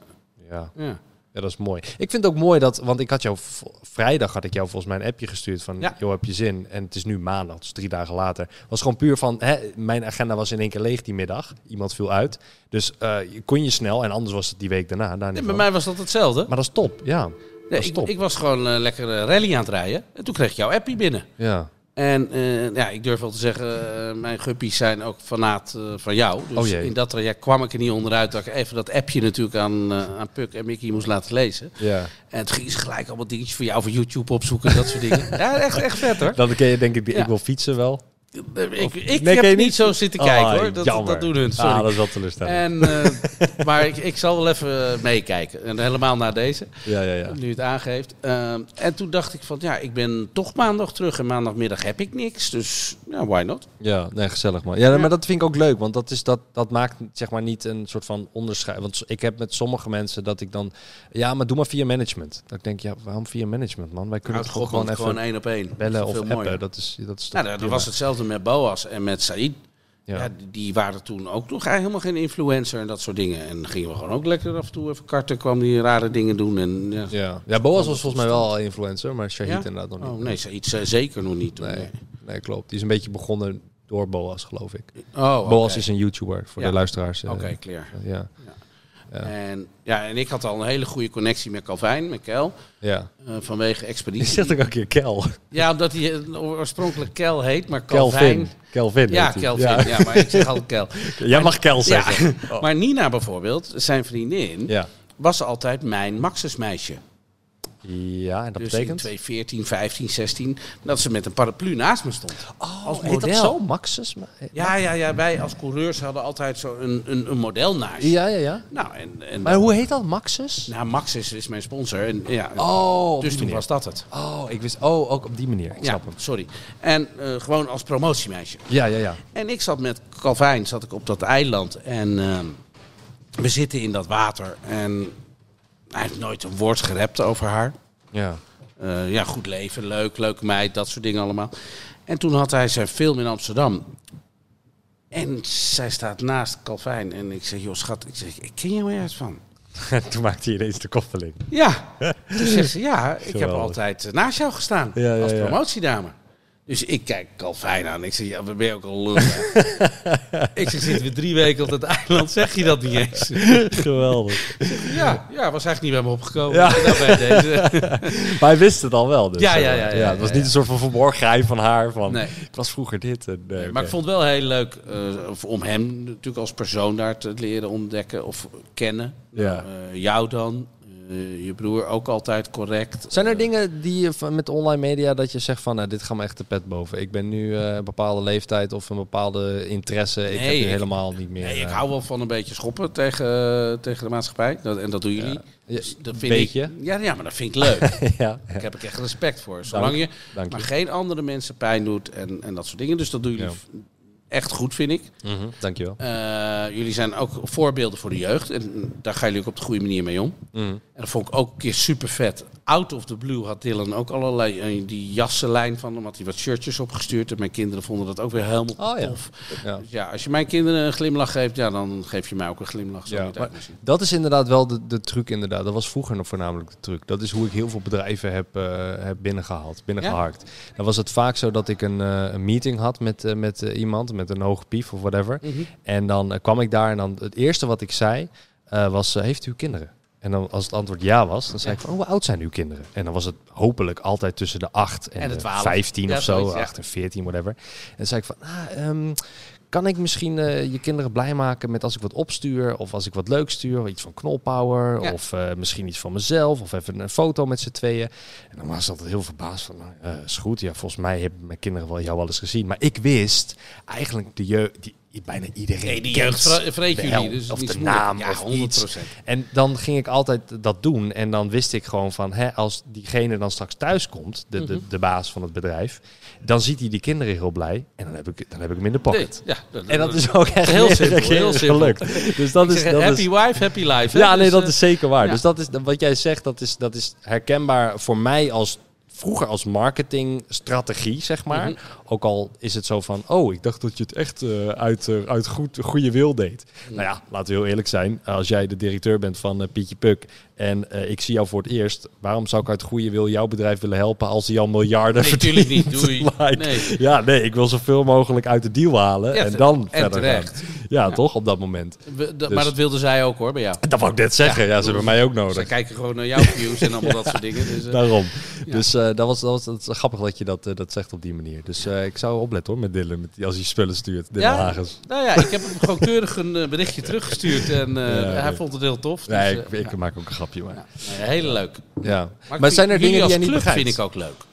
S1: Ja.
S2: Ja.
S1: Ja, dat is mooi. Ik vind het ook mooi dat, want ik had jou v- vrijdag had ik jou volgens mij een appje gestuurd van,
S2: Ja.
S1: joh, heb je zin? En het is nu maandag, dus drie dagen later. Was gewoon puur van, hè, mijn agenda was in één keer leeg die middag. Iemand viel uit, dus eh, je kon je snel. En anders was het die week daarna. Daar niet
S2: Nee, bij
S1: van.
S2: mij was dat hetzelfde.
S1: Maar dat is top, ja.
S2: Nee,
S1: dat is
S2: ik,
S1: top.
S2: ik was gewoon eh, lekker eh, rally aan het rijden. En toen kreeg ik jouw appie binnen.
S1: ja.
S2: En eh, ja, ik durf wel te zeggen, eh, mijn guppies zijn ook fanaat eh, van jou. Dus
S1: Oh jee.
S2: in dat traject kwam ik er niet onderuit dat ik even dat appje natuurlijk aan, eh, aan Puk en Mickey moest laten lezen.
S1: ja.
S2: En het ging ze gelijk allemaal dingetjes voor jou voor YouTube opzoeken en dat soort dingen. Ja, echt, echt vet hoor.
S1: Dan ken je denk ik, die ik
S2: Ja.
S1: wil fietsen wel.
S2: Ik, ik
S1: Nee,
S2: heb
S1: ken je
S2: niet?
S1: niet?
S2: zo zitten kijken
S1: Ah,
S2: hoor. Dat,
S1: jammer.
S2: dat doen hun, sorry.
S1: Ah, dat is wel teleurstellend.
S2: en, eh, maar ik, ik zal wel even eh, meekijken. En helemaal na deze.
S1: ja, ja, ja.
S2: Nu het aangeeft. Ehm, en toen dacht ik van, ja, ik ben toch maandag terug en maandagmiddag heb ik niks. Dus, ja, why not?
S1: Ja, nee, gezellig man. Ja, maar dat vind ik ook leuk, want dat, is, dat, dat maakt zeg maar niet een soort van onderscheid. Want s- ik heb met sommige mensen dat ik dan, ja, maar doe maar via management. Dat ik denk, ja, waarom via management man? Wij kunnen het
S2: Houd
S1: toch
S2: gewoon,
S1: gewoon even
S2: gewoon één op één.
S1: bellen
S2: Dat is
S1: of
S2: veel
S1: appen.
S2: mooier.
S1: Dat is, dat is
S2: Nou,
S1: toch
S2: dat, dat
S1: prima.
S2: was hetzelfde met Boas en met Said.
S1: Ja.
S2: Ja. die- die waren toen ook nog helemaal geen influencer en dat soort dingen. En gingen we gewoon ook lekker af en toe even karten, kwam die rare dingen doen. En, ja.
S1: Ja. ja, Boas was volgens mij wel influencer, maar Shahid
S2: Ja?
S1: inderdaad nog niet.
S2: Oh, nee, Said ze- zeker nog niet toen.
S1: nee.
S2: nee.
S1: nee, klopt. Die is een beetje begonnen door Boas, geloof ik.
S2: Oh, oké.
S1: Boas is een YouTuber, voor
S2: Ja.
S1: de luisteraars. eh,
S2: Oké, clear.
S1: Ja,
S2: En, ja, en ik had al een hele goede connectie met Calvin, met Kel,
S1: ja.
S2: eh, vanwege Expeditie.
S1: Je zegt ook een keer Kel.
S2: Ja, omdat hij eh, oorspronkelijk Kel heet, maar Calvin.
S1: Kelvin. Kelvin.
S2: Ja,
S1: heet hij.
S2: Kelvin. Ja. maar ik zeg altijd Kel.
S1: Jij mag Kel zeggen.
S2: Ja. Maar Nina bijvoorbeeld, zijn vriendin,
S1: Ja.
S2: was altijd mijn Maxusmeisje.
S1: Ja, en dat
S2: Dus in
S1: betekent?
S2: 2014, 15, 16, dat ze met een paraplu naast me stond. als
S1: Oh, Heet dat zo? Maxus?
S2: Ja, ja, ja, wij als coureurs hadden altijd zo een, een, een model naast.
S1: Ja, ja, ja.
S2: Nou, en, en
S1: Maar hoe heet dat? Maxus?
S2: nou, Maxus is mijn sponsor. En, ja,
S1: Oh, op die
S2: dus toen
S1: manier.
S2: was dat het.
S1: Oh, ik wist... Oh, ook op die manier. Ik
S2: Ja,
S1: snap hem.
S2: sorry. En eh, gewoon als promotiemeisje.
S1: Ja, ja, ja.
S2: En ik zat met Calvin zat ik op dat eiland en ehm, we zitten in dat water. En hij heeft nooit een woord gerept over haar.
S1: Ja.
S2: Eh, ja, goed leven, leuk, leuke meid, dat soort dingen allemaal. En toen had hij zijn film in Amsterdam. En zij staat naast Calvin en ik zeg, joh schat, ik, zeg, ik ken jou ergens van.
S1: toen maakte hij ineens de koppeling.
S2: Ja, toen zegt ze, ja, ik heb
S1: Geweldig.
S2: altijd eh, naast jou gestaan
S1: Ja, ja,
S2: als
S1: ja.
S2: promotiedame. Dus ik kijk Calvin aan. Ik zeg, ja, we ben je ook al lul. ik zeg, zitten we drie weken op dat eiland, zeg je dat niet eens?
S1: Geweldig.
S2: ja, ja, was eigenlijk niet bij me opgekomen.
S1: Ja.
S2: Nou, bij deze.
S1: Maar hij wist het al wel dus.
S2: Ja, ja,
S1: zeg maar.
S2: ja, ja,
S1: Het was
S2: ja,
S1: niet
S2: ja.
S1: een soort van verborgen geheim van haar. Van,
S2: Nee.
S1: Ik was vroeger dit. En, nee,
S2: Maar ik
S1: oké.
S2: vond het wel heel leuk eh, om hem natuurlijk als persoon daar te leren ontdekken of kennen.
S1: Ja.
S2: Eh, jou dan, eh, je broer ook altijd correct.
S1: Zijn er dingen die je van- met online media dat je zegt van, nou, dit gaat me echt de pet boven. Ik ben nu eh, een bepaalde leeftijd of een bepaalde interesse. Ik heb
S2: Nee,
S1: nu
S2: ik-
S1: helemaal niet meer.
S2: Nee, ik
S1: eh,
S2: hou wel van een beetje schoppen tegen, eh, tegen de maatschappij. Dat, en dat doen jullie.
S1: Ja,
S2: Dus dat vind
S1: beetje.
S2: Ik, ja, ja, maar dat vind ik leuk. Daar
S1: ja, ja.
S2: heb ik echt respect voor. Zolang je
S1: dank
S2: maar
S1: je.
S2: geen andere mensen pijn doet en, en dat soort dingen. Dus dat doen jullie
S1: Ja.
S2: f- echt goed, vind ik.
S1: Mhm, Dankjewel.
S2: Eh, jullie zijn ook voorbeelden voor de jeugd. En daar gaan jullie ook op de goede manier mee om.
S1: Mm.
S2: En dat vond ik ook een keer super vet. Out of the blue had Dylan ook allerlei eh, die jassenlijn van hem. Had hij wat shirtjes opgestuurd. En mijn kinderen vonden dat ook weer helemaal
S1: Oh, ja.
S2: tof.
S1: Ja.
S2: Dus ja, als je mijn kinderen een glimlach geeft, ja, dan geef je mij ook een glimlach. Zo
S1: Ja,
S2: moet het
S1: maar
S2: eigenlijk zien.
S1: dat is inderdaad wel de, de truc inderdaad. Dat was vroeger nog voornamelijk de truc. Dat is hoe ik heel veel bedrijven heb, eh, heb binnengehaald, binnengeharkt. Dan was het vaak zo dat ik een, eh, een meeting had met, eh, met eh, iemand, met met een hoge pief of whatever.
S2: Mhm.
S1: En dan eh, kwam ik daar en dan het eerste wat ik zei eh, was, eh, heeft u kinderen? En dan als het antwoord ja was, dan zei ik van, "Oh, hoe oud zijn uw kinderen? En dan was het hopelijk altijd tussen de 8 en,
S2: En de
S1: de
S2: 12.
S1: 15
S2: Ja,
S1: of zo,
S2: zoiets, ja.
S1: 8 en 14, whatever. En dan zei ik van, ah, ehm, kan ik misschien eh, je kinderen blij maken met als ik wat opstuur of als ik wat leuk stuur, iets van knolpower
S2: Ja.
S1: of eh, misschien iets van mezelf of even een foto met z'n tweeën. En dan was ze altijd heel verbaasd van, nou, eh, is goed, ja, volgens mij hebben mijn kinderen wel jou wel eens gezien. Maar ik wist eigenlijk de jeugd, die, bijna iedereen
S2: Nee, die
S1: kent
S2: jeugd vre- vreet
S1: de
S2: jullie,
S1: hel
S2: dus het
S1: of
S2: is
S1: de
S2: moeilijk.
S1: naam
S2: Ja,
S1: of iets.
S2: 100%.
S1: En dan ging ik altijd dat doen. En dan wist ik gewoon van, hè, als diegene dan straks thuis komt, de,
S2: Mhm.
S1: de, de baas van het bedrijf, dan ziet hij die kinderen heel blij. En dan heb ik, dan heb ik hem in de pocket.
S2: Nee, ja, dat,
S1: En dat is ook echt
S2: Heel
S1: meerdere
S2: simpel,
S1: keren
S2: heel simpel.
S1: gelukt. Dus dat
S2: Ik
S1: is,
S2: zeg,
S1: dat
S2: happy
S1: is,
S2: wife, happy life. hè?
S1: ja, nee,
S2: Dus,
S1: dat
S2: eh,
S1: is zeker waar.
S2: ja.
S1: Dus dat is wat jij zegt, dat is, dat is herkenbaar voor mij als vroeger als marketingstrategie, zeg maar.
S2: Mhm.
S1: Ook al is het zo van, oh, ik dacht dat je het echt eh, uit, eh, uit goed, goede wil deed.
S2: Mhm.
S1: Nou ja, laten we heel eerlijk zijn. Als jij de directeur bent van eh, Pietje Puk en eh, ik zie jou voor het eerst, waarom zou ik uit goede wil jouw bedrijf willen helpen als die al miljarden
S2: Nee,
S1: verdient?
S2: tuurlijk niet, doei.
S1: Like,
S2: Nee.
S1: Ja, nee, ik wil zoveel mogelijk uit de deal halen
S2: Ja,
S1: en dan
S2: en
S1: verder
S2: terecht.
S1: gaan. Ja, toch, op dat moment.
S2: we- dat-
S1: dus-
S2: Maar dat wilde zij ook hoor, bij jou.
S1: Dat wou ik net zeggen. Ja, ze hebben mij ook nodig.
S2: Zij kijken gewoon naar jouw views en allemaal dat soort dingen. Dus, eh,
S1: Daarom. Dus eh, dat, was, dat, was, dat is grappig dat je dat, eh, dat zegt op die manier. Dus eh, ik zou opletten hoor met Dylan, met, die- als hij spullen stuurt. Dylan Hagens.
S2: Nou ja, ik heb hem gewoon keurig een eh, berichtje teruggestuurd en eh,
S1: Ja,
S2: hij
S1: nee.
S2: vond het heel tof. Dus,
S1: Nee,
S2: eh,
S1: ik, ik maak ook een grapje. Maar, ja.
S2: nee, hele leuk.
S1: Maar,
S2: ik vind-
S1: zijn er dingen
S2: jullie
S1: die
S2: als
S1: jij niet
S2: club
S1: begrijpt?
S2: vind ik ook leuk.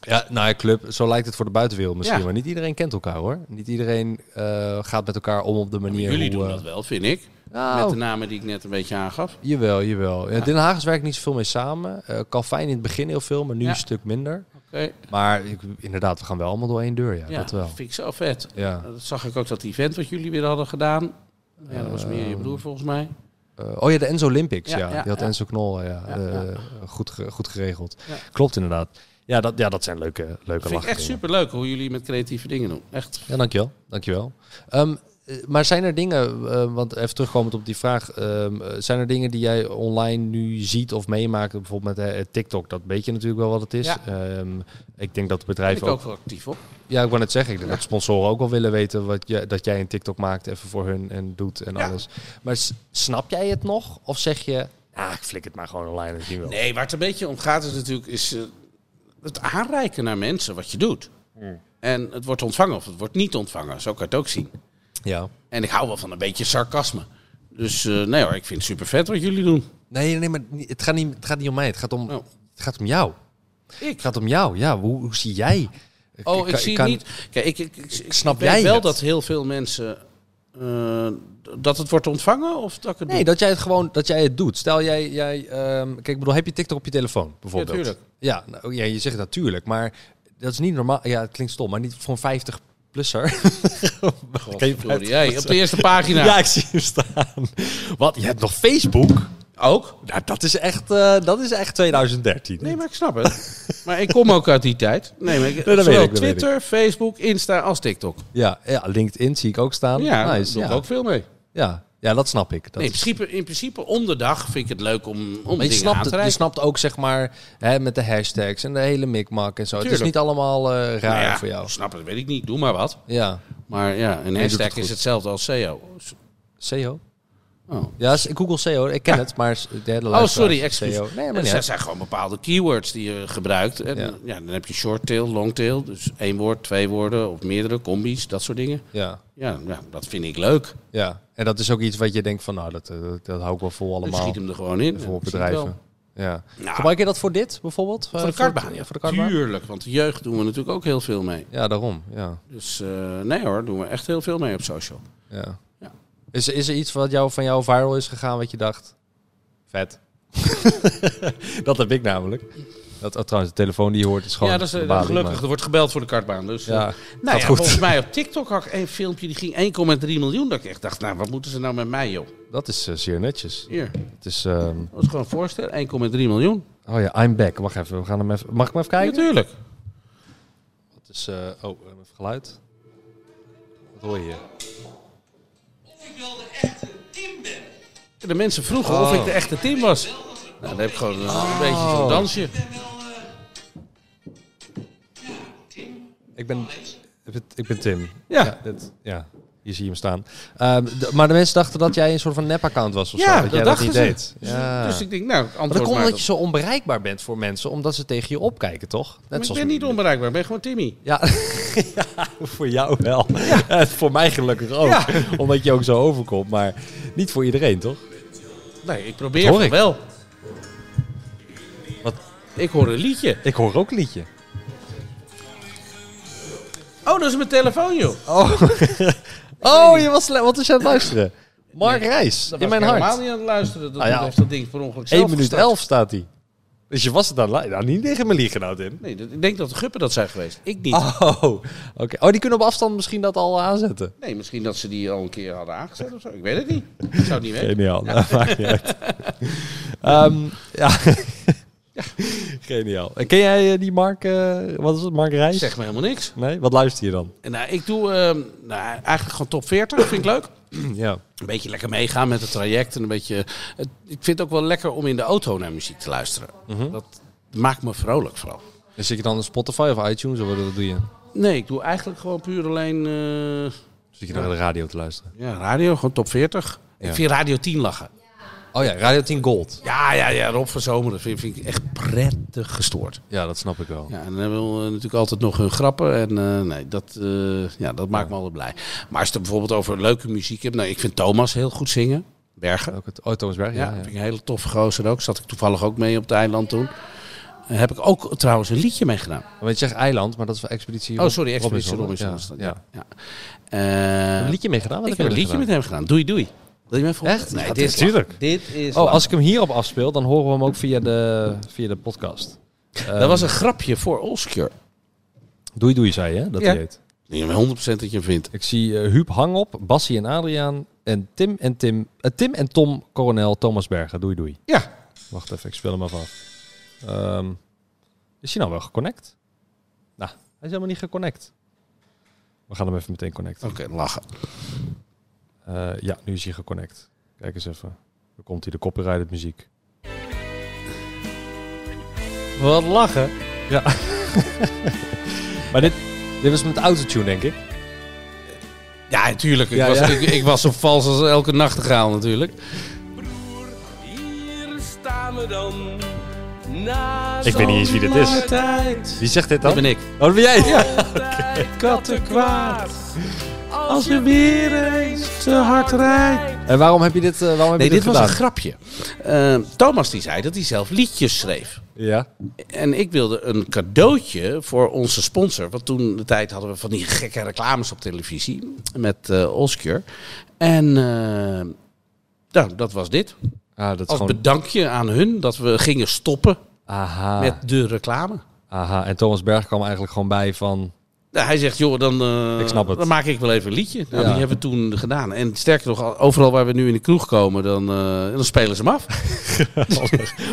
S1: Ja, nou ja, club, zo lijkt het voor de buitenwereld misschien.
S2: Ja.
S1: Maar niet iedereen kent elkaar hoor. Niet iedereen eh, gaat met elkaar om op de manier
S2: Jullie
S1: hoe...
S2: doen
S1: eh,
S2: dat wel, vind ik.
S1: nou,
S2: Met de namen die ik net een beetje aangaf.
S1: Jawel, jawel. Ja, Dylan Hagens werkt niet zoveel mee samen. Eh Calvijn in het begin heel veel, maar nu
S2: Ja.
S1: een stuk minder.
S2: Oké.
S1: Maar ik- inderdaad, we gaan wel allemaal door één deur. Ja,
S2: Ja,
S1: dat wel.
S2: vind ik zo vet.
S1: Ja.
S2: Dat zag ik ook dat event wat jullie weer hadden gedaan. Ja, dat was meer je
S1: Ehm,
S2: broer volgens mij.
S1: Eh, oh ja, de Enzo Olympics.
S2: Ja,
S1: Ja,
S2: ja,
S1: die had
S2: ja.
S1: Enzo Knol. Ja,
S2: Ja,
S1: eh,
S2: ja.
S1: Goed, ge- goed geregeld.
S2: Ja.
S1: Klopt inderdaad. Ja dat, ja, dat zijn leuke, leuke
S2: Dat vind ik
S1: lachen.
S2: echt superleuk hoe jullie met creatieve dingen doen. Echt.
S1: Ja, dankjewel. dankjewel. Ehm, eh, maar zijn er dingen, eh, want even terugkomend op die vraag, ehm, eh, zijn er dingen die jij online nu ziet of meemaakt, bijvoorbeeld met eh, TikTok? Dat weet je natuurlijk wel wat het is.
S2: Ja.
S1: Ehm, ik denk dat
S2: Daar ben
S1: bedrijven
S2: ik ook wel actief op.
S1: Ja, ik wou net zeggen, ik denk dat sponsoren ook wel willen weten wat je, dat jij een TikTok maakt, even voor hun en doet en
S2: Ja.
S1: alles. Maar s- snap jij het nog? Of zeg je, ah, ik flik het maar gewoon online, dat zien we wel.
S2: Nee, waar het een beetje om gaat is natuurlijk is, eh, het aanreiken naar mensen wat je doet.
S1: Hmm.
S2: En het wordt ontvangen of het wordt niet ontvangen. Zo kan je het ook zien.
S1: Ja.
S2: En ik hou wel van een beetje sarcasme. Dus eh, nee hoor, ik vind het super vet wat jullie doen.
S1: Nee, nee, maar ni- het gaat niet, het gaat niet om mij, het gaat om,
S2: Nou.
S1: het gaat om jou.
S2: Ik?
S1: Het gaat om jou, ja. Hoe, hoe zie jij?
S2: Oh,
S1: kan-
S2: ik zie het
S1: kan-
S2: niet. Kijk, ik, ik, ik, ik
S1: Snap
S2: weet
S1: jij
S2: wel
S1: het?
S2: dat heel veel mensen eh, dat het wordt ontvangen of dat ik het
S1: Nee,
S2: doe?
S1: dat jij het gewoon, dat jij het doet. Stel jij, jij ehm, kijk, ik bedoel, heb je TikTok op je telefoon bijvoorbeeld?
S2: Ja, tuurlijk.
S1: Ja, nou, ja, je zegt natuurlijk, maar dat is niet normaal. Ja, het klinkt stom, maar niet voor een 50-plusser. Geen
S2: Godverdorie, hey, op de eerste pagina.
S1: Ja, ik zie hem staan. Wat? Je hebt nog Facebook?
S2: Ook?
S1: Nou, dat is echt, eh, dat is echt 2013.
S2: Nee, maar ik snap het. maar ik kom ook uit die tijd. Nee, maar ik,
S1: dat weet
S2: zowel
S1: ik, dat weet
S2: Twitter, Facebook, Insta als TikTok.
S1: Ja, ja, LinkedIn zie ik ook staan.
S2: Ja, daar
S1: Oh, nice.
S2: doe ik
S1: ja.
S2: ook veel mee.
S1: Ja. ja, dat snap ik. Dat
S2: nee, in,
S1: is-
S2: principe, in principe om de dag vind ik het leuk om, om
S1: Maar je
S2: dingen aan
S1: snapt,
S2: te
S1: het, je
S2: reiken.
S1: snapt ook, zeg maar, hè, met de hashtags en de hele mikmak en zo. Het
S2: Tuurlijk.
S1: is niet allemaal eh, raar
S2: Nou ja,
S1: voor jou.
S2: Snap het, weet ik niet. Doe maar wat.
S1: Ja,
S2: Maar ja, een
S1: doet
S2: hashtag
S1: het goed.
S2: is hetzelfde als SEO.
S1: SEO.
S2: Oh,
S1: E Ja, s- ik google SEO, ik ken het, maar s- de hele
S2: oh
S1: luisteraars-
S2: sorry, excuus.
S1: SEO. E Nee, maar niet
S2: Dus
S1: uit.
S2: dat zijn gewoon bepaalde keywords die je gebruikt. En ja.
S1: Ja.
S2: dan heb je short tail, long tail. Dus één woord, twee woorden of meerdere, combi's, dat soort dingen.
S1: Ja,
S2: Ja, ja dat vind ik leuk.
S1: ja. En dat is ook iets wat je denkt van, nou, dat, eh, dat, dat hou ik wel vol
S2: Ik
S1: allemaal.
S2: schiet hem er gewoon in.
S1: voor
S2: Ja, zie ik
S1: bedrijven.
S2: wel.
S1: Ja.
S2: Nou.
S1: Gebruik je dat voor dit bijvoorbeeld? Eh,
S2: Voor de kartbaan,
S1: ja,
S2: ja.
S1: voor de kartbaan?
S2: Tuurlijk, want de jeugd doen we natuurlijk ook heel veel mee.
S1: Ja, daarom. Ja.
S2: Dus eh, nee hoor, doen we echt heel veel mee op social.
S1: Ja.
S2: Ja.
S1: Is, er- is er iets wat jou, van jou viral is gegaan wat je dacht? Vet. dat heb ik namelijk. Dat, oh, trouwens, de telefoon die je hoort is gewoon...
S2: ja, dat is eh,
S1: een balie,
S2: gelukkig.
S1: maar-
S2: Er wordt gebeld voor de kartbaan. Dus, eh,
S1: Ja,
S2: nou
S1: gaat
S2: ja,
S1: goed.
S2: volgens mij op TikTok had ik een filmpje die ging 1,3 miljoen. Dat ik echt dacht, nou wat moeten ze nou met mij joh?
S1: Dat is eh, zeer netjes.
S2: Hier,
S1: Het is... ehm,
S2: dat is gewoon voorstellen, 1,3 miljoen.
S1: oh ja, I'm back. Wacht even, we gaan hem even... Mag ik hem even kijken?
S2: Natuurlijk.
S1: Het is... eh, oh, eh, even geluid. Wat hoor je hier?
S5: Of ik wel de echte Tim ben.
S2: De mensen vroegen of
S1: Oh.
S2: ik de echte Tim was. Nou, dan heb ik gewoon een beetje zo'n dansje.
S5: Ik ben wel eh,
S1: Ik ben... Ik ben- Ik ben Tim.
S2: Ja.
S1: dit- ja. Hier zie je hem staan. Ehm, d- maar de mensen dachten dat jij een soort van nep-account was of
S2: Ja,
S1: zo.
S2: dat
S1: Dat jij dat
S2: dachten
S1: niet
S2: ze.
S1: deed.
S2: Dus-
S1: Ja.
S2: Dus ik denk, nou, ik
S1: maar dat
S2: antwoord
S1: komt
S2: maar.
S1: omdat je zo onbereikbaar bent voor mensen, omdat ze tegen je opkijken, toch? Net
S2: Maar ik ben niet onbereikbaar, ik ben gewoon Timmy.
S1: Ja, ja, voor jou wel. Eh, voor mij gelukkig ook.
S2: Ja.
S1: Omdat je ook zo overkomt, maar niet voor iedereen, toch?
S2: Nee, ik probeer
S1: Dat hoor
S2: van
S1: ik.
S2: wel.
S1: Wat?
S2: Ik hoor een liedje.
S1: Ik hoor ook een liedje.
S2: Oh, dat is mijn telefoon, joh.
S1: Oh, je was sle- wat was je aan het luisteren? Mark Reis,
S2: Dat
S1: in
S2: was
S1: mijn
S2: ik helemaal
S1: hart.
S2: niet aan het luisteren. Dat
S1: Ah, ja.
S2: heeft dat ding per ongeluk zelf
S1: 1 minuut
S2: gestart.
S1: 11 staat hij. Dus je was het aan het nou, niet tegen mijn liegenoot in.
S2: Nee, dat- ik denk dat de guppen dat zijn geweest. Ah. Ik niet.
S1: Oh, oké. oh, die kunnen op afstand misschien dat al aanzetten.
S2: Nee, misschien dat ze die al een keer hadden aangezet of zo. Ik weet het niet. Ik zou het niet weten.
S1: Geniaal, nou, maakt niet uit. Ehm, ja. Geniaal. En Ken jij eh, die Mark, eh, wat is het, Mark Reis?
S2: Zeg me helemaal niks.
S1: Nee, wat luister je dan?
S2: En, nou, ik doe ehm, nou, eigenlijk gewoon top 40. Vind ik leuk.
S1: Ja.
S2: Een beetje lekker meegaan met het traject. En een beetje, het- ik vind het ook wel lekker om in de auto naar muziek te luisteren. Dat maakt me vrolijk vooral.
S1: Dus zit je dan op Spotify of iTunes of wat wat doe je?
S2: Nee, ik doe eigenlijk gewoon puur alleen eh,
S1: Zit je naar de radio te luisteren?
S2: ja, radio, gewoon top 40. Ik vind Radio 10 lachen.
S1: Oh ja, Radio 10 Gold.
S2: Ja, ja, ja, Rob van Zomeren vind, vind ik echt prettig gestoord.
S1: Ja, dat snap ik wel.
S2: Ja, en dan hebben we eh, natuurlijk altijd nog hun grappen. En eh, nee, dat, eh, ja, dat maakt me altijd blij. Maar als je het bijvoorbeeld over leuke muziek hebt. Nou, ik vind Thomas heel goed zingen. Bergen.
S1: Ook het, oh, Thomas Berg,
S2: Ja,
S1: ja. ja.
S2: vind ik een hele toffe gozer ook. Zat ik toevallig ook mee op het eiland toen. En heb ik ook trouwens een liedje mee gedaan.
S1: Want je zegt eiland, maar dat is wel Expeditie
S2: Oh,
S1: Rob-
S2: sorry, Expeditie Robinson. was
S1: Ja,
S2: dat,
S1: ja.
S2: Ja. Ja. Eh,
S1: Een liedje mee gedaan? Wat
S2: ik heb een
S1: je
S2: liedje
S1: gedaan?
S2: met hem gedaan. Doei, doei. Wil je me even horen?
S1: Echt?
S2: Nee,
S1: Ja,
S2: dit is
S1: tuurlijk.
S2: lang. Dit is
S1: Oh,
S2: lang.
S1: als ik hem hierop afspeel, dan horen we hem ook via de, via de podcast.
S2: Dat was een grapje voor Olscure.
S1: Ehm, Doei doei, zei je, hè, dat
S2: Ja.
S1: hij heet.
S2: Ik ben 100% dat je hem vindt.
S1: Ik zie eh, Huub Hangop, Bassie en Adriaan en Tim en Tim... eh, Tim en Tom, Coronel, Thomas Berger. Doei doei.
S2: Ja.
S1: Wacht even, ik speel hem even af. Ehm, is hij nou wel geconnect? Nou, hij is helemaal niet geconnect. We gaan hem even meteen connecten.
S2: Oké, lachen.
S1: Eh, ja, nu is hij geconnect. Kijk eens even. Dan komt hij de copyrighted muziek.
S3: Wat lachen.
S1: Maar dit, dit was met autotune, denk ik.
S2: Ja, natuurlijk. Ik,
S1: Ja,
S2: was,
S1: ja.
S2: Ik, ik was zo vals als elke nachtegaal natuurlijk.
S5: Hier staan we dan. Na
S1: Ik weet niet eens wie dit is.
S5: tijd.
S1: Wie zegt dit dan?
S2: Dat ben ik.
S1: Oh, dat ben jij. Ja.
S5: kwaad. Als je weer eens te hard rijdt.
S1: En waarom heb je dit, eh, waarom heb
S2: Nee,
S1: je
S2: dit
S1: dit,
S2: was een
S1: gedaan?
S2: grapje. Eh, Thomas die zei dat hij zelf liedjes schreef.
S1: ja.
S2: En ik wilde een cadeautje voor onze sponsor. Want toen de tijd hadden we van die gekke reclames op televisie. Met eh Oscar. En eh, nou, dat was dit.
S1: Ah, dat is
S2: Als
S1: gewoon...
S2: bedankje aan hun dat we gingen stoppen
S1: Aha,
S2: met de reclame.
S1: aha. En Thomas Berg kwam eigenlijk gewoon bij van...
S2: Nou, hij zegt, joh, dan, eh,
S1: Ik snap het.
S2: dan maak ik wel even een liedje. Nou,
S1: Ja.
S2: Die hebben we toen gedaan. En sterker nog, overal waar we nu in de kroeg komen, dan, eh, dan spelen ze hem af.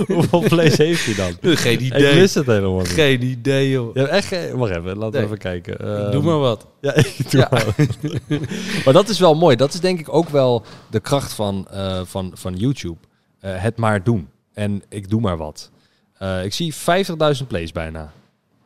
S1: Hoeveel vlees heeft hij dan?
S2: Geen
S1: Ik
S2: idee.
S1: wist het helemaal niet.
S2: Geen idee, joh.
S1: Je hebt echt geen... Wacht even, laten
S2: Nee.
S1: we even kijken.
S2: Doe
S1: Ehm,
S2: maar wat. Nou,
S1: Ja, ik doe wel. maar dat is wel mooi. Dat is denk ik ook wel de kracht van, eh, van, van YouTube. Eh, het maar doen. En ik doe maar wat. Eh, ik zie 50.000 plays bijna.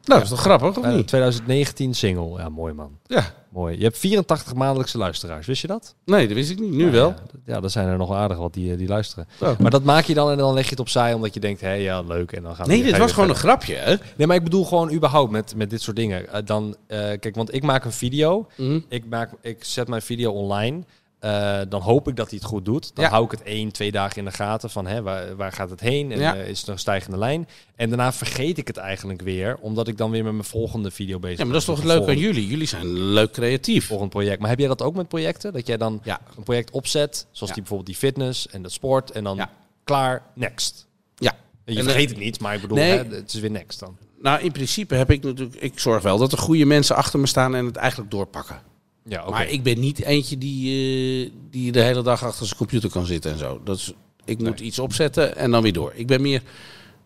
S2: Nou, is toch grappig, of
S1: Bijna
S2: niet?
S1: 2019 single. Ja, mooi man.
S2: Ja.
S1: Mooi. Je hebt 84 maandelijkse luisteraars. Wist je dat?
S2: Nee, dat wist ik niet. Nu wel.
S1: Nou,
S2: Nou.
S1: Ja, d- ja, er zijn er nog aardig wat die, eh, die luisteren.
S2: Ja.
S1: Maar dat maak je dan en dan leg je het opzij omdat je denkt, hé ja, leuk. En dan gaan we
S2: Nee,
S1: weer-
S2: dit
S1: ga
S2: was
S1: je
S2: gewoon
S1: weer
S2: een grapje, hè?
S1: Nee, maar ik bedoel gewoon überhaupt met, met dit soort dingen. Eh, dan, eh, kijk, want ik maak een video. Ik, maak, ik zet mijn video online. Eh, dan hoop ik dat hij het goed doet. Dan
S2: Ja.
S1: hou ik het één, twee dagen in de gaten van hè, waar, waar gaat het heen en
S2: Ja.
S1: eh, is er een stijgende lijn. En daarna vergeet ik het eigenlijk weer, omdat ik dan weer met mijn volgende video bezig
S2: Ja,
S1: ben.
S2: maar dat is toch
S1: Of
S2: leuk aan
S1: volgende-
S2: jullie? Jullie zijn leuk creatief.
S1: volgend project. Maar heb jij dat ook met projecten? Dat jij dan
S2: Ja.
S1: een project opzet, zoals
S2: Ja.
S1: die bijvoorbeeld die fitness en dat sport, en dan
S2: Ja.
S1: klaar, next.
S2: Ja.
S1: En je
S2: En, eh,
S1: vergeet het niet, maar ik bedoel,
S2: nee.
S1: hè, het is weer next dan.
S2: Nou, in principe heb ik natuurlijk... Ik zorg wel dat er goede mensen achter me staan en het eigenlijk doorpakken.
S1: Ja, oké.
S2: Maar ik ben niet eentje die, eh, die de hele dag achter zijn computer kan zitten en zo. Dat is, ik moet iets opzetten en dan weer door. Ik ben meer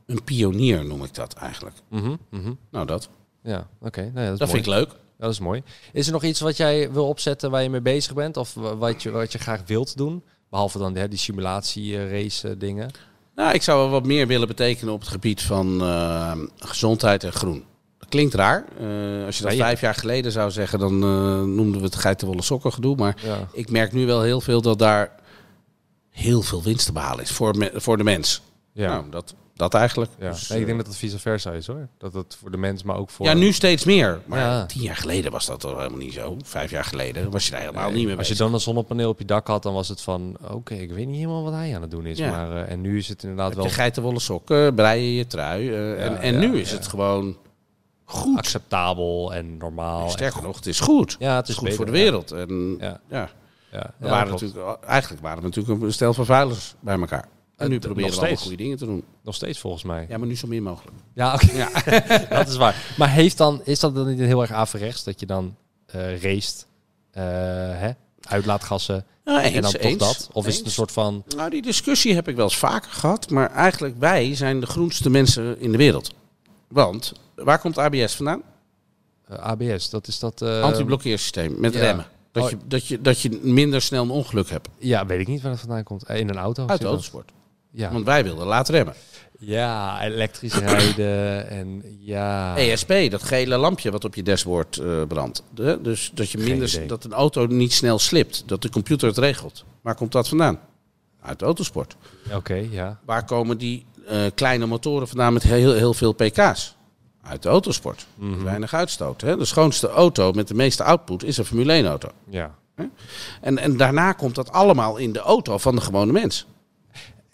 S2: een pionier, noem ik dat eigenlijk.
S1: Mhm, mhm.
S2: Nou, dat, dat,
S1: Ja, oké. Nou ja, dat is mooi.
S2: vind ik leuk.
S1: Dat is mooi. Is er nog iets wat jij wil opzetten waar je mee bezig bent? Of wa- wat je, wat je graag wilt doen? Behalve dan hè, die simulatie-race dingen.
S2: Nou, ik zou wel wat meer willen betekenen op het gebied van eh, gezondheid en groen. Dat klinkt raar. Eh, als je dat
S1: Ja, ja.
S2: vijf jaar geleden zou zeggen, dan eh, noemden we het geitenwolle sokken gedoe. Maar
S1: Ja.
S2: ik merk nu wel heel veel dat daar heel veel winst te behalen is voor, me- voor de mens.
S1: Ja.
S2: Nou, dat, dat eigenlijk.
S1: Ja.
S2: Dus,
S1: Nee, ik
S2: eh,
S1: denk dat het vice versa is hoor. Dat het voor de mens, maar ook voor.
S2: ja, nu steeds meer. Maar
S1: Ja.
S2: tien jaar geleden was dat toch helemaal niet zo. Vijf jaar geleden was je daar helemaal niet meer
S1: Als je
S2: bezig.
S1: dan een zonnepaneel op je dak had, dan was het van, oké, ik weet niet helemaal wat hij aan het doen is.
S2: Ja.
S1: Maar, eh, en nu is het inderdaad
S2: Heb
S1: wel
S2: je geitenwolle sokken, breien je trui. eh, en en nu is het gewoon goed.
S1: acceptabel en normaal.
S2: Sterker nog, het is goed.
S1: Ja, het
S2: Het
S1: is
S2: is goed
S1: beter,
S2: voor de
S1: ja.
S2: wereld. En
S1: Ja.
S2: ja.
S1: Ja,
S2: We
S1: ja,
S2: waren
S1: klopt.
S2: natuurlijk, eigenlijk waren we natuurlijk een stel van vuilers bij elkaar. En nu
S1: Eh, d-
S2: proberen
S1: nog
S2: we allemaal
S1: steeds.
S2: goede dingen te doen.
S1: Nog steeds volgens mij.
S2: Ja, maar nu zo min mogelijk.
S1: Ja, oké. dat is waar. Maar heeft dan, is dat dan niet heel erg averechts dat je dan eh racet, eh, hè? uitlaatgassen
S2: Ja, Nou, eens,
S1: en dan toch
S2: eens,
S1: dat? Of is het een
S2: eens.
S1: soort van,
S2: Nou, die discussie heb ik wel eens vaker gehad. Maar eigenlijk, wij zijn de groenste mensen in de wereld. Want, waar komt ABS vandaan?
S1: eh, ABS, dat is dat... eh,
S2: Antiblokkeersysteem met
S1: ja.
S2: remmen. Dat,
S1: Oh.
S2: je, dat, je, dat je minder snel een ongeluk hebt.
S1: Ja, weet ik niet waar dat vandaan komt. Eh, In een auto?
S2: Uit
S1: zit
S2: de
S1: dat?
S2: autosport.
S1: Ja.
S2: Want wij wilden laat remmen.
S1: ja, elektrisch rijden en ja...
S2: ESP, E dat gele lampje wat op je dashboard eh, brandt. De- dus dat, je
S1: idee.
S2: minder, dat een auto niet snel slipt. Dat de computer het regelt. Waar komt dat vandaan? Uit de autosport.
S1: Oké, ja.
S2: Waar komen die eh, kleine motoren vandaan met heel, heel veel pk's? Uit de autosport.
S1: Mhm.
S2: Weinig uitstoot. Hè? De schoonste auto met de meeste output is een Formule 1 auto.
S1: ja.
S2: En, en daarna komt dat allemaal in de auto van de gewone mens.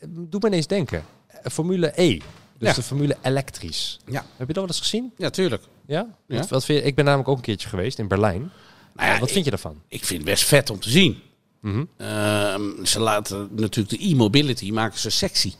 S1: Doe me ineens denken. Eh, Formule E. Dus
S2: Ja.
S1: de formule elektrisch.
S2: Ja,
S1: Heb je dat wel eens gezien?
S2: ja tuurlijk.
S1: Ja?
S2: Ja.
S1: Wat, wat vind je, ik ben namelijk ook een keertje geweest in Berlijn.
S2: Nou ja,
S1: wat vind je daarvan?
S2: ik vind het best vet om te zien.
S1: Mhm.
S2: Ehm, ze laten natuurlijk de e-mobility maken ze sexy.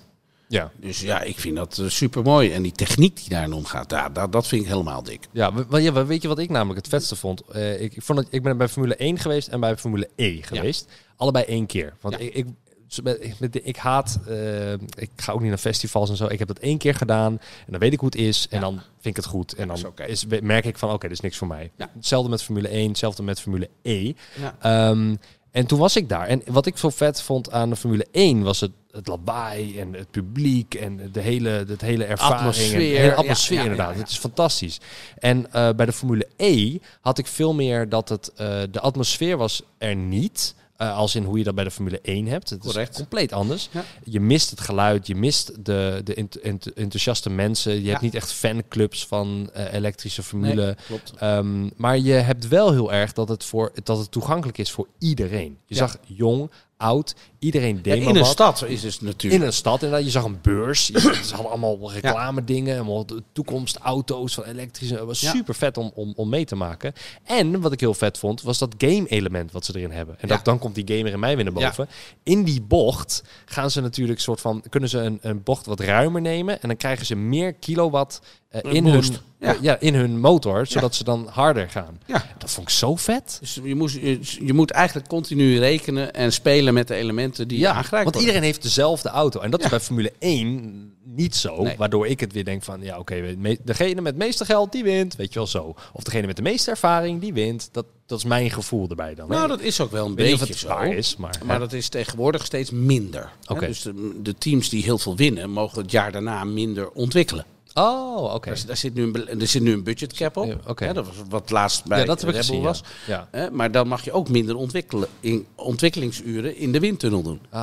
S1: Ja.
S2: Dus ja, ik vind dat super mooi. En die techniek die daarin omgaat, daar, daar, dat vind ik helemaal dik.
S1: Ja, we- wel, ja, we- weet je wat ik namelijk het vetste vond? Eh, ik, ik vond dat, ik ben bij Formule 1 geweest en bij Formule E geweest. Allebei één keer. Want
S2: Ja.
S1: ik, ik, ze- met- ik, met de- ik haat, eh, ik ga ook niet naar festivals en zo. Ik heb dat één keer gedaan en dan weet ik hoe het is. En dan vind ik het goed. En dan
S2: is oké.
S1: is, merk ik van, oké, dit is niks voor mij.
S2: Ja.
S1: Hetzelfde met Formule 1, hetzelfde met Formule E.
S2: Ja.
S1: Ehm, en toen was ik daar. En wat ik zo vet vond aan de Formule 1 was het, het lawaai en het publiek en de hele, het hele ervaring. en de
S2: Atmosfeer.
S1: hele atmosfeer
S2: Ja, ja, ja,
S1: inderdaad.
S2: ja.
S1: Het is fantastisch. En eh, bij de Formule E had ik veel meer dat het, eh, de atmosfeer was er niet. eh, als in hoe je dat bij de Formule 1 hebt. Het
S2: Correct.
S1: is compleet anders.
S2: Ja.
S1: Je mist het geluid, je mist de, de ent- ent- enthousiaste mensen. Je hebt niet echt fanclubs van eh, elektrische Formule.
S2: klopt.
S1: Ehm, maar je hebt wel heel erg dat het, voor, dat het toegankelijk is voor iedereen. Je zag jong, oud, iedereen deed maar
S2: in een
S1: wat.
S2: stad is het natuurlijk.
S1: In een stad inderdaad. Je zag een beurs. Je- Ze hadden allemaal reclame dingen. Allemaal de toekomstauto's van elektrische. Het was
S2: Ja.
S1: super vet om, om, om mee te maken. En wat ik heel vet vond, was dat game element wat ze erin hebben. En dat,
S2: Ja.
S1: dan komt die gamer in mij weer naar boven. In die bocht gaan ze natuurlijk soort van... Kunnen ze een, een bocht wat ruimer nemen. En dan krijgen ze meer kilowatt eh, in, hun,
S2: boost.
S1: ja.
S2: Ja.
S1: in hun motor. Zodat ze dan harder gaan.
S2: Ja.
S1: Dat vond ik zo vet.
S2: Dus je, moest, je, je moet eigenlijk continu rekenen en spelen met de elementen die je aangrijpt
S1: want
S2: worden.
S1: iedereen heeft dezelfde auto. En dat is bij Formule 1 niet zo.
S2: Nee.
S1: Waardoor ik het weer denk van, ja oké, we- me- degene met het meeste geld, die wint. Weet je wel zo. Of degene met de meeste ervaring, die wint. Dat, dat is mijn gevoel erbij dan.
S2: Nou, dat is ook wel een
S1: weet niet of
S2: beetje
S1: het
S2: zo.
S1: waar is, maar-
S2: maar dat is tegenwoordig steeds minder. hè.
S1: Oké.
S2: Dus de, de teams die heel veel winnen, mogen het jaar daarna minder ontwikkelen.
S1: Oh, oké.
S2: Daar, zit- daar zit nu een, bel- er zit nu een budget cap op.
S1: Ja, oké.
S2: Hè, dat was wat laatst bij
S1: Ja, dat heb ik
S2: Red Bull
S1: gezien, ja.
S2: was.
S1: Ja.
S2: Hè, maar dan mag je ook minder ontwikkelen in ontwikkelingsuren in de windtunnel doen.
S1: Ah,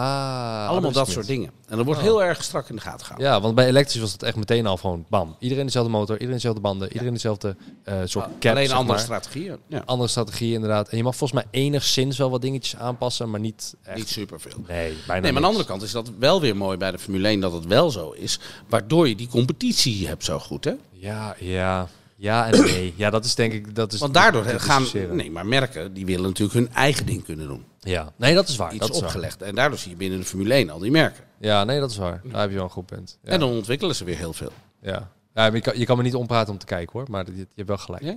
S1: is
S2: Allemaal
S1: Oh. het
S2: dat
S1: niet.
S2: soort dingen. En dat wordt heel erg strak in de gaten gehouden.
S1: Ja, want bij elektrisch was het echt meteen al gewoon bam. Iedereen dezelfde motor, iedereen dezelfde banden, iedereen dezelfde eh, soort cap.
S2: Ah, Alleen
S1: zeg
S2: andere
S1: maar.
S2: strategieën. Ja.
S1: andere strategie inderdaad. En je mag volgens mij enigszins wel wat dingetjes aanpassen, maar niet echt.
S2: Niet superveel.
S1: Nee, bijna
S2: Nee, maar aan de
S1: niks.
S2: andere kant is dat wel weer mooi bij de Formule 1 dat het wel zo is. Waardoor je die competitie hebt zo goed. Hè?
S1: Ja, ja. Ja en nee. Ja, dat is denk ik... Dat is
S2: Want daardoor
S1: dat is
S2: gaan
S1: discussiëren.
S2: nee, maar merken, die willen natuurlijk hun eigen ding kunnen doen.
S1: Ja. Nee, dat is waar.
S2: Iets
S1: dat is waar.
S2: opgelegd. En daardoor zie je binnen de Formule 1 al die merken.
S1: Ja, nee, dat is waar. Daar heb je wel een goed punt. Ja.
S2: Mm. En dan ontwikkelen ze weer heel veel.
S1: ja. ja maar je, kan, je kan me niet ompraten om te kijken hoor, maar je, je hebt wel gelijk.
S2: Ja?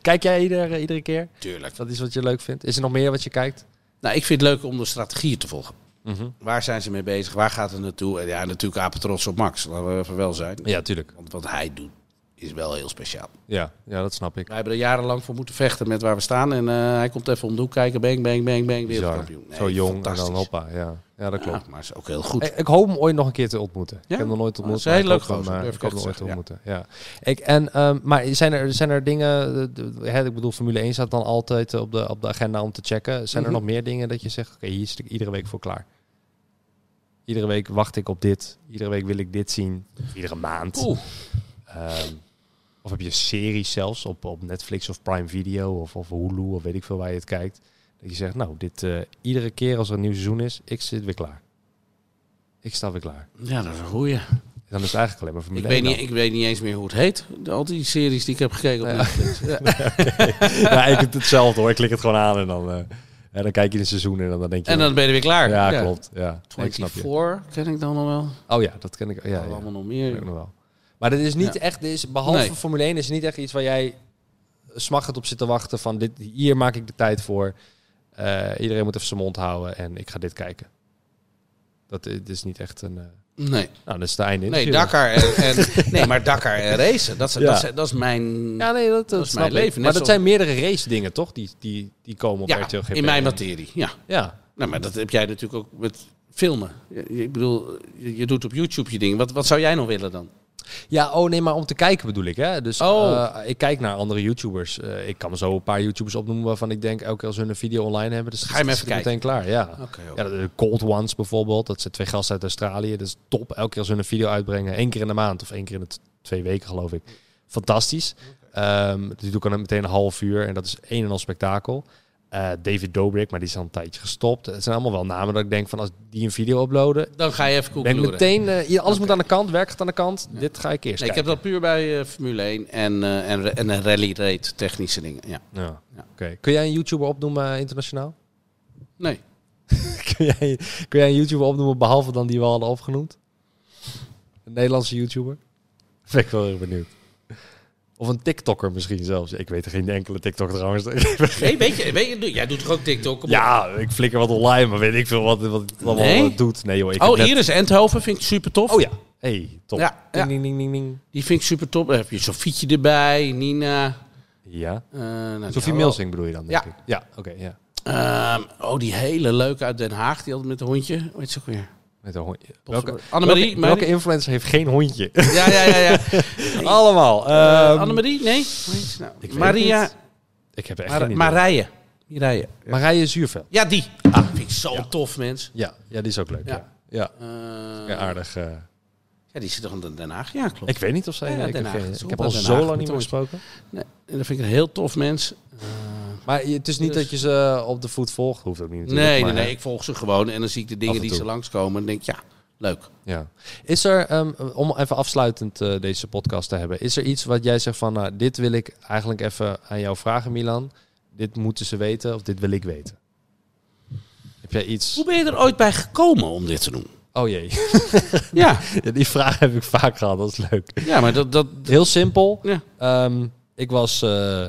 S1: Kijk jij ieder, eh, iedere keer?
S2: Tuurlijk.
S1: Dat is wat je leuk vindt. Is er nog meer wat je kijkt?
S2: Nou, ik vind het leuk om de strategieën te volgen.
S1: Mhm.
S2: Waar zijn ze mee bezig? Waar gaat het naartoe? En ja, natuurlijk apetrots op Max. Laten we even wel zijn.
S1: Ja, tuurlijk.
S2: Want wat hij doet is wel heel speciaal.
S1: Ja, ja, dat snap ik.
S2: Wij hebben er jarenlang voor moeten vechten met waar we staan. En eh, hij komt even om de hoek kijken. Bang, bang, bang,
S1: Bizar.
S2: bang. Wereldkampioen. Nee,
S1: Zo jong en
S2: fantastisch.
S1: dan hoppa. Ja, ja dat klopt.
S2: Ja, maar is ook heel goed.
S1: Ik, ik hoop hem ooit nog een keer te ontmoeten. Ik heb hem nog nooit
S2: dat is
S1: ontmoet.
S2: een
S1: maar
S2: heel
S1: ik
S2: leuk
S1: hoop hem,
S2: gozer,
S1: eh,
S2: durf
S1: Ik
S2: ik
S1: hoop hem
S2: echt
S1: ooit te
S2: te
S1: ontmoeten. Ja. Ik, en, ehm, maar zijn er, zijn er dingen... de- de- hè, ik bedoel, Formule 1 staat dan altijd op de, op de agenda om te checken. Zijn
S2: Mhm.
S1: er nog meer dingen dat je zegt... Oké, hier is ik iedere week voor klaar. Iedere week wacht ik op dit. Iedere week wil ik dit zien. Of Iedere maand.
S2: Oeh.
S1: Ehm, of heb je series zelfs op, op Netflix of Prime Video of, of Hulu of weet ik veel waar je het kijkt. Dat je zegt, nou, dit eh, iedere keer als er een nieuw seizoen is, ik zit weer klaar. Ik sta weer klaar.
S2: Ja, dat is een goeie.
S1: Dan is het eigenlijk alleen maar Formule
S2: Ik
S1: 1
S2: weet, niet, ik weet niet eens meer hoe het heet. Al die series die ik heb gekeken op Netflix. Ja.
S1: dan. Ja, ik heb hetzelfde hoor. Ik klik het gewoon aan en dan, eh, en dan kijk je de seizoen en dan, dan denk je...
S2: En dan ben je weer klaar.
S1: ja, klopt. Ja, Nee, ik snap je.
S2: 24 ken ik dan nog wel.
S1: Oh ja, dat ken ik. Ja, ja, dat
S2: Allemaal nog
S1: ken ik
S2: meer.
S1: nog wel. Maar dit is niet echt, dit is, behalve
S2: Nee.
S1: Formule 1, is het niet echt iets waar jij smachtend op zit te wachten van dit, hier maak ik de tijd voor. Eh, iedereen moet even zijn mond houden en ik ga dit kijken. Dat i- dit is niet echt een... eh,
S2: Nee,
S1: nou, dat is het einde.
S2: nee
S1: natuurlijk.
S2: Dakar en, en- nee, maar Dakar en racen, dat is,
S1: Ja.
S2: dat is, dat is mijn...
S1: Ja, nee, dat, dat,
S2: is
S1: snap
S2: mijn
S1: ik.
S2: leven. Net
S1: Maar dat
S2: zoals-
S1: zijn meerdere race dingen, toch? Die, die, die komen op
S2: Ja,
S1: RTL GP.
S2: in mijn materie, ja.
S1: Ja,
S2: Nou, maar dat heb jij natuurlijk ook met filmen. Je- je- Ik bedoel, je je doet op YouTube je ding. Wat, wat zou jij nog willen dan?
S1: Ja, oh nee, maar om te kijken bedoel ik. Hè? Dus
S2: Oh.
S1: eh, ik kijk naar andere YouTubers. Eh, ik kan zo een paar YouTubers opnoemen waarvan ik denk, elke keer als hun een video online hebben, dus
S2: Ga je hem even
S1: meteen klaar. Ja.
S2: Oké, oké.
S1: ja, de Cold Ones bijvoorbeeld, dat zijn twee gasten uit Australië. Dat is top. Elke keer als hun een video uitbrengen, één keer in de maand of één keer in de t- twee weken geloof ik. Fantastisch. Ehm, die doe ik dan meteen een half uur en dat is een en al spektakel. Eh, David Dobrik, maar die is al een tijdje gestopt. Het zijn allemaal wel namen dat ik denk van als die een video uploaden,
S2: Dan ga je even
S1: denk ik
S2: koekeloeren.
S1: meteen, eh, hier, alles moet aan de kant, werk gaat aan de kant. Dit ga ik eerst
S2: Nee, ik
S1: kijken.
S2: heb dat puur bij eh, Formule 1 en, eh, en, en een rally rate technische dingen. Ja.
S1: Ja.
S2: Ja.
S1: Oké. Kun jij een YouTuber opnoemen eh, internationaal?
S2: Nee.
S1: kun, jij, kun jij een YouTuber opnoemen behalve dan die we hadden opgenoemd? Een Nederlandse YouTuber? Ben ik wel heel benieuwd. Of een TikToker misschien zelfs. Ik weet er geen enkele TikToker trouwens.
S2: Nee, weet je, weet je, jij doet toch ook TikTok? Kom op.
S1: ja, ik flikker wat online, maar weet ik veel wat, wat het allemaal
S2: Nee?
S1: eh, doet. Nee joh, ik heb
S2: Oh,
S1: net-
S2: hier is Endhoven, vind ik super tof.
S1: Oh ja. hey, top.
S2: Ja, ja.
S1: Ding, ding, ding, ding, ding.
S2: Die vind ik super tof. Dan heb je Sofietje erbij, Nina.
S1: Ja.
S2: eh, nou,
S1: Sophie
S2: die hadden
S1: Milsing bedoel je dan, denk
S2: Ja.
S1: ik. Ja, oké, ja.
S2: we al. Ehm, oh, die hele leuke uit Den Haag, die had met een hondje. Hoe heet ze ook weer?
S1: Met een hondje.
S2: Potverdorie.
S1: Welke-
S2: Annemarie,
S1: welke,
S2: maar-
S1: welke influencer heeft geen hondje?
S2: Ja, ja, ja. ja.
S1: allemaal.
S2: Eh,
S1: Ehm,
S2: Annemarie? Nee? Hoe heet ze nou?
S1: weet
S2: Maria.
S1: het ik heb er echt geen
S2: Mar
S1: idee.
S2: Marije. Marije.
S1: Marije Zuurveld.
S2: Ja, die. Ah, vind ik zo tof, mens.
S1: Ja, ja, die is ook leuk.
S2: Ja.
S1: Ja, ja.
S2: Eh,
S1: Ja, aardig. eh.
S2: ja, die zit toch in Den Haag? Ja, klopt.
S1: ik weet niet of zij.
S2: Ja, ja,
S1: ik,
S2: Den
S1: heb
S2: Haag.
S1: geen-
S2: Het is
S1: ik heb
S2: ook
S1: al
S2: wel Den
S1: zo
S2: Haag
S1: lang niet
S2: met
S1: meer
S2: ons.
S1: gesproken.
S2: Nee, dat vind ik een heel tof mens. Eh,
S1: Maar het is niet
S2: Dus-
S1: dat je ze eh, op de voet volgt. Hoeft ook niet.
S2: Nee,
S1: Natuurlijk,
S2: nee,
S1: maar,
S2: nee, Ik volg ze gewoon en dan zie ik de
S1: Af
S2: dingen
S1: en
S2: die
S1: toe.
S2: ze langskomen en denk ja, leuk.
S1: Ja. Is er, ehm, om even afsluitend eh, deze podcast te hebben, is er iets wat jij zegt van, nou, dit wil ik eigenlijk even aan jou vragen, Milan. Dit moeten ze weten of dit wil ik weten? Heb jij iets?
S2: Hoe ben je er ooit bij gekomen om dit te doen?
S1: Oh jee,
S2: Ja,
S1: Ja, die vraag heb ik vaak gehad, dat is leuk.
S2: ja maar dat... dat
S1: Heel simpel.
S2: ja.
S1: Ehm, ik was eh,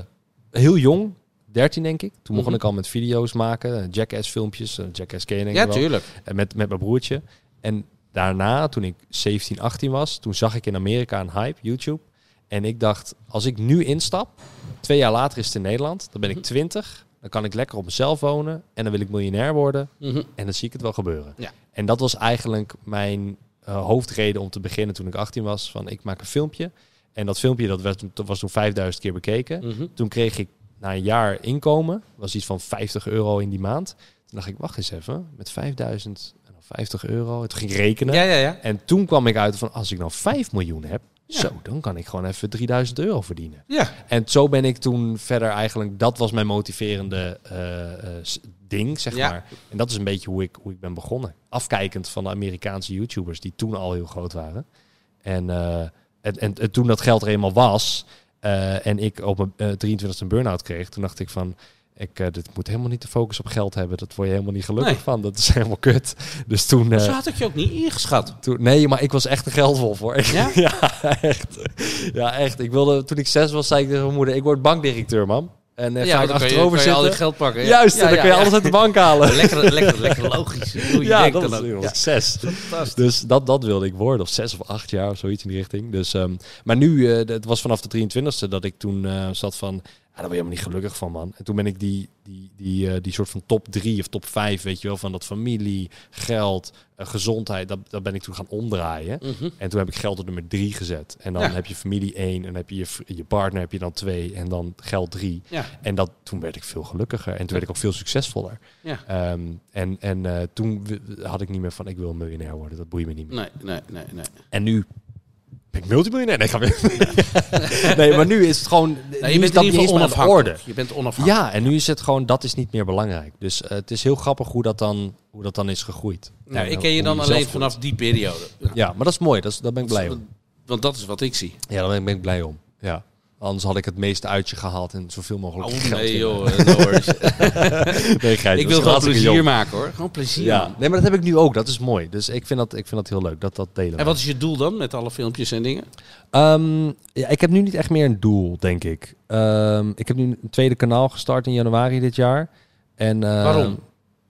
S1: heel jong, 13 denk ik. Toen begon ik al met video's maken, eh, jackass filmpjes, eh, jackass ken je denk ik
S2: ja,
S1: wel.
S2: tuurlijk.
S1: En met, met mijn broertje. En daarna, toen ik 17, 18 was, toen zag ik in Amerika een hype, YouTube. En ik dacht, als ik nu instap, twee jaar later is het in Nederland, dan ben
S2: Mhm.
S1: ik 20, dan kan ik lekker op mezelf wonen en dan wil ik miljonair worden
S2: Mhm.
S1: en dan zie ik het wel gebeuren.
S2: Ja.
S1: En dat was eigenlijk mijn eh, hoofdreden om te beginnen toen ik 18 was, van ik maak een filmpje. En dat filmpje dat werd, toen- was toen 5000 keer bekeken.
S2: Mhm.
S1: Toen kreeg ik na een jaar inkomen, was iets van 50 euro in die maand. Toen dacht ik, wacht eens even, met 5000 en dan 50 euro. Het ging ik rekenen.
S2: Ja, ja, ja.
S1: En toen kwam ik uit van, als ik nou 5 miljoen heb, zo, dan kan ik gewoon even 3000 euro verdienen.
S2: Ja,
S1: En zo ben ik toen verder eigenlijk, dat was mijn motiverende eh, eh, s- ding, zeg
S2: Ja.
S1: maar. En dat is een beetje hoe ik, hoe ik ben begonnen. Afkijkend van de Amerikaanse YouTubers, die toen al heel groot waren. En, eh, en, en, en toen dat geld er eenmaal was eh, en ik op mijn eh, 23e burn-out kreeg, toen dacht ik van... Ik, eh, dit moet helemaal niet de focus op geld hebben. Dat word je helemaal niet gelukkig
S2: Nee.
S1: van. Dat is helemaal kut. Dus toen... eh,
S2: zo had ik je ook niet ingeschat.
S1: toen, nee, maar ik was echt een geldwolf hoor.
S2: Ja?
S1: ja, echt. Ja, echt. Ik wilde, toen ik zes was, zei ik tegen mijn moeder, ik word bankdirecteur, mam. En eh,
S2: Ja,
S1: ga
S2: want
S1: je
S2: dan kan je,
S1: achterover
S2: kan je al je
S1: zitten.
S2: geld pakken. ja.
S1: Juist,
S2: Ja,
S1: dan
S2: ja,
S1: kun je
S2: ja.
S1: alles uit de bank halen.
S2: Lekker, lekker, lekker logisch. Hoe je
S1: Ja,
S2: denkt
S1: dat
S2: dan
S1: is
S2: ook.
S1: jongens,
S2: Ja.
S1: zes. Dus dat, dat wilde ik worden. Of zes of acht jaar of zoiets in die richting. Dus, ehm, maar nu, eh, het was vanaf de 23e dat ik toen eh, zat van... Ah, daar ben je helemaal niet gelukkig van, man. En toen ben ik die, die, die, eh, die soort van top drie of top vijf, weet je wel... van dat familie, geld, eh, gezondheid, dat, dat ben ik toen gaan omdraaien.
S2: Mhm.
S1: En toen heb ik geld op nummer drie gezet. En dan
S2: Ja.
S1: heb je familie één en dan heb je je, v- je partner heb je dan twee en dan geld drie.
S2: Ja.
S1: En dat, toen werd ik veel gelukkiger en toen werd ik ook veel succesvoller.
S2: Ja.
S1: Ehm, en en eh, toen w- had ik niet meer van ik wil miljonair worden, dat boeit me niet meer.
S2: Nee, nee, nee, nee.
S1: En nu ben ik multimiljonair. Nee, ik ga weer. nee, maar nu is het gewoon.
S2: Nou,
S1: nu is dat niet eens meer aan de orde.
S2: Je bent onafhankelijk.
S1: Ja,
S2: Ah.
S1: en nu is het gewoon dat is niet meer belangrijk. Dus eh, het is heel grappig hoe dat dan, hoe dat dan is gegroeid.
S2: Nou,
S1: En
S2: ik
S1: ook
S2: ken je
S1: hoe
S2: dan
S1: zelf
S2: alleen
S1: groeit.
S2: vanaf die periode.
S1: Ja, maar dat is mooi. Dat is, daar ben ik blij om.
S2: Want dat is wat ik zie.
S1: Ja, daar ben ik, ben ik blij om. Ja. Anders had ik het meeste uitje gehaald en zoveel mogelijk
S2: Oh,
S1: geld.
S2: nee,
S1: in-
S2: joh. eh, no worries.
S1: Nee, Gijs, dat
S2: ik wil
S1: is
S2: gewoon
S1: hartstikke
S2: plezier
S1: jong.
S2: maken, hoor. Gewoon plezier.
S1: Ja.
S2: man.
S1: Nee, maar dat heb ik nu ook. Dat is mooi. Dus ik vind dat, ik vind dat heel leuk. Dat, dat delen.
S2: En wat is je doel dan met alle filmpjes en dingen?
S1: Ehm, ja, ik heb nu niet echt meer een doel, denk ik. Ehm, ik heb nu een tweede kanaal gestart in januari dit jaar. En, eh,
S2: Waarom?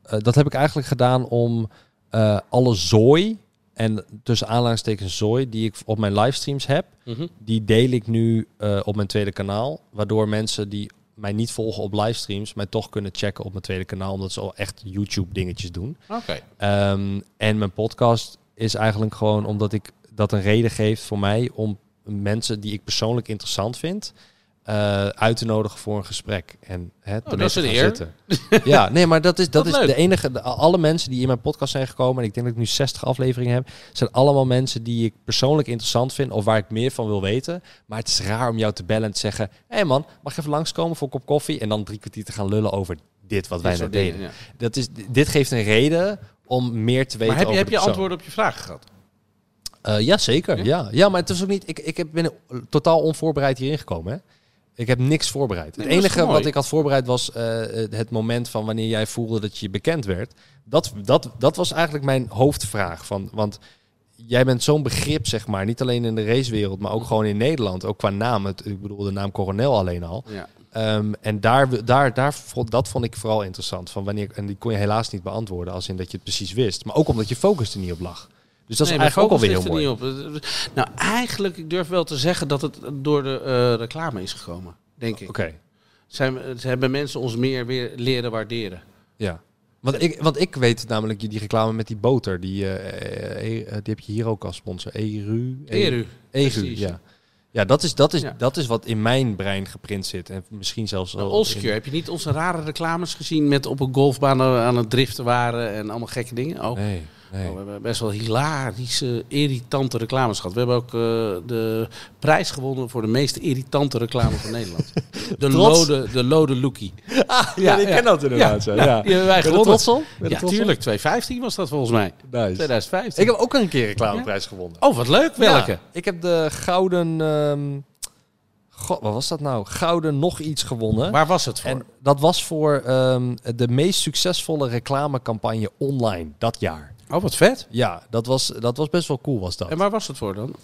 S1: eh, dat heb ik eigenlijk gedaan om eh, alle zooi, en tussen aanhalingstekens zooi, die ik op mijn livestreams heb,
S2: Mhm.
S1: die deel ik nu eh, op mijn tweede kanaal. Waardoor mensen die mij niet volgen op livestreams, mij toch kunnen checken op mijn tweede kanaal, omdat ze al echt YouTube dingetjes doen.
S2: Oké.
S1: Ehm, en mijn podcast is eigenlijk gewoon omdat ik dat een reden geeft voor mij om mensen die ik persoonlijk interessant vind. eh, uit te nodigen voor een gesprek. En hè,
S2: Oh, dat
S1: ermee
S2: is
S1: te
S2: een
S1: gaan
S2: eer.
S1: zitten. Ja, nee, maar dat is, dat
S2: Wat
S1: is
S2: leuk.
S1: de enige. de- alle mensen die in mijn podcast zijn gekomen. en ik denk dat ik nu 60 afleveringen heb. zijn allemaal mensen die ik persoonlijk interessant vind. of waar ik meer van wil weten. Maar het is raar om jou te bellen en te zeggen. hé hey man, mag je even langskomen voor een kop koffie? en dan drie kwartier te gaan lullen over dit wat wij
S2: Dit
S1: net
S2: soort
S1: nou deden.
S2: dingen, ja.
S1: Dat is, dit geeft een reden om meer te weten
S2: Maar heb je,
S1: over
S2: heb
S1: de
S2: je
S1: persoon.
S2: antwoorden op je vragen gehad?
S1: Eh, ja, zeker. Ja? Ja. maar het is ook niet... Ik, ik heb- ben totaal onvoorbereid hierin gekomen, hè. Ik heb niks voorbereid.
S2: Nee,
S1: het
S2: maar dat is
S1: enige
S2: mooi.
S1: wat ik had voorbereid was eh, eh, het moment van wanneer jij voelde dat je bekend werd. Dat, dat, dat was eigenlijk mijn hoofdvraag. Van, want jij bent zo'n begrip, zeg maar. Niet alleen in de racewereld, maar ook gewoon in Nederland. Ook qua naam. Het, ik bedoel, de naam Coronel alleen al.
S2: Ja.
S1: Ehm, en daar, daar, daar, vo- dat vond ik vooral interessant. Van wanneer, en die kon je helaas niet beantwoorden, als in dat je het precies wist. Maar ook omdat je focus er niet op lag. Dus dat is
S2: Nee,
S1: eigenlijk ook
S2: mijn
S1: alweer heel
S2: focus
S1: mooi.
S2: ligt er niet op. Nou, eigenlijk, ik durf wel te zeggen dat het door de eh, reclame is gekomen, denk ik.
S1: Oké,
S2: Zijn, we- ze hebben mensen ons meer weer leren waarderen.
S1: ja. Want ik, want ik weet namelijk die reclame met die boter. Die, eh, eh, eh, die heb je hier ook als sponsor. Eru.
S2: Eru,
S1: Eru,
S2: precies.
S1: ja. Ja, dat is, dat, is,
S2: Ja.
S1: dat is wat in mijn brein geprint zit. En misschien zelfs...
S2: Nou,
S1: al in-
S2: Allsecure, heb je niet onze rare reclames gezien met op een golfbaan eh, aan- aan het driften waren en allemaal gekke dingen? Oh,
S1: Nee, nee.
S2: oh, we hebben best wel hilarische, irritante reclames gehad. We hebben ook eh, de prijs gewonnen voor de meest irritante reclame van Nederland. De
S1: Trots. Ah,
S2: lode, de lode Lookie.
S1: ja, ik ken dat inderdaad. Ja,
S2: Ja,
S1: ja.
S2: die hebben
S1: Ben je
S2: wij
S1: er
S2: gewonnen.
S1: trots op? Ben je er
S2: Ja,
S1: trots op?
S2: tuurlijk. 2,15 was dat volgens mij.
S1: Nice.
S2: 2015.
S1: Ik heb ook een keer een reclameprijs gewonnen.
S2: Oh, wat leuk. Welke?
S1: Ja, ik heb de gouden. ehm, god, wat was dat nou? Gouden nog iets gewonnen.
S2: Waar was het voor?
S1: en dat was voor ehm, de meest succesvolle reclamecampagne online dat jaar.
S2: oh, wat vet.
S1: Ja, dat was, dat was best wel cool, was dat.
S2: En waar was het voor dan? Oh,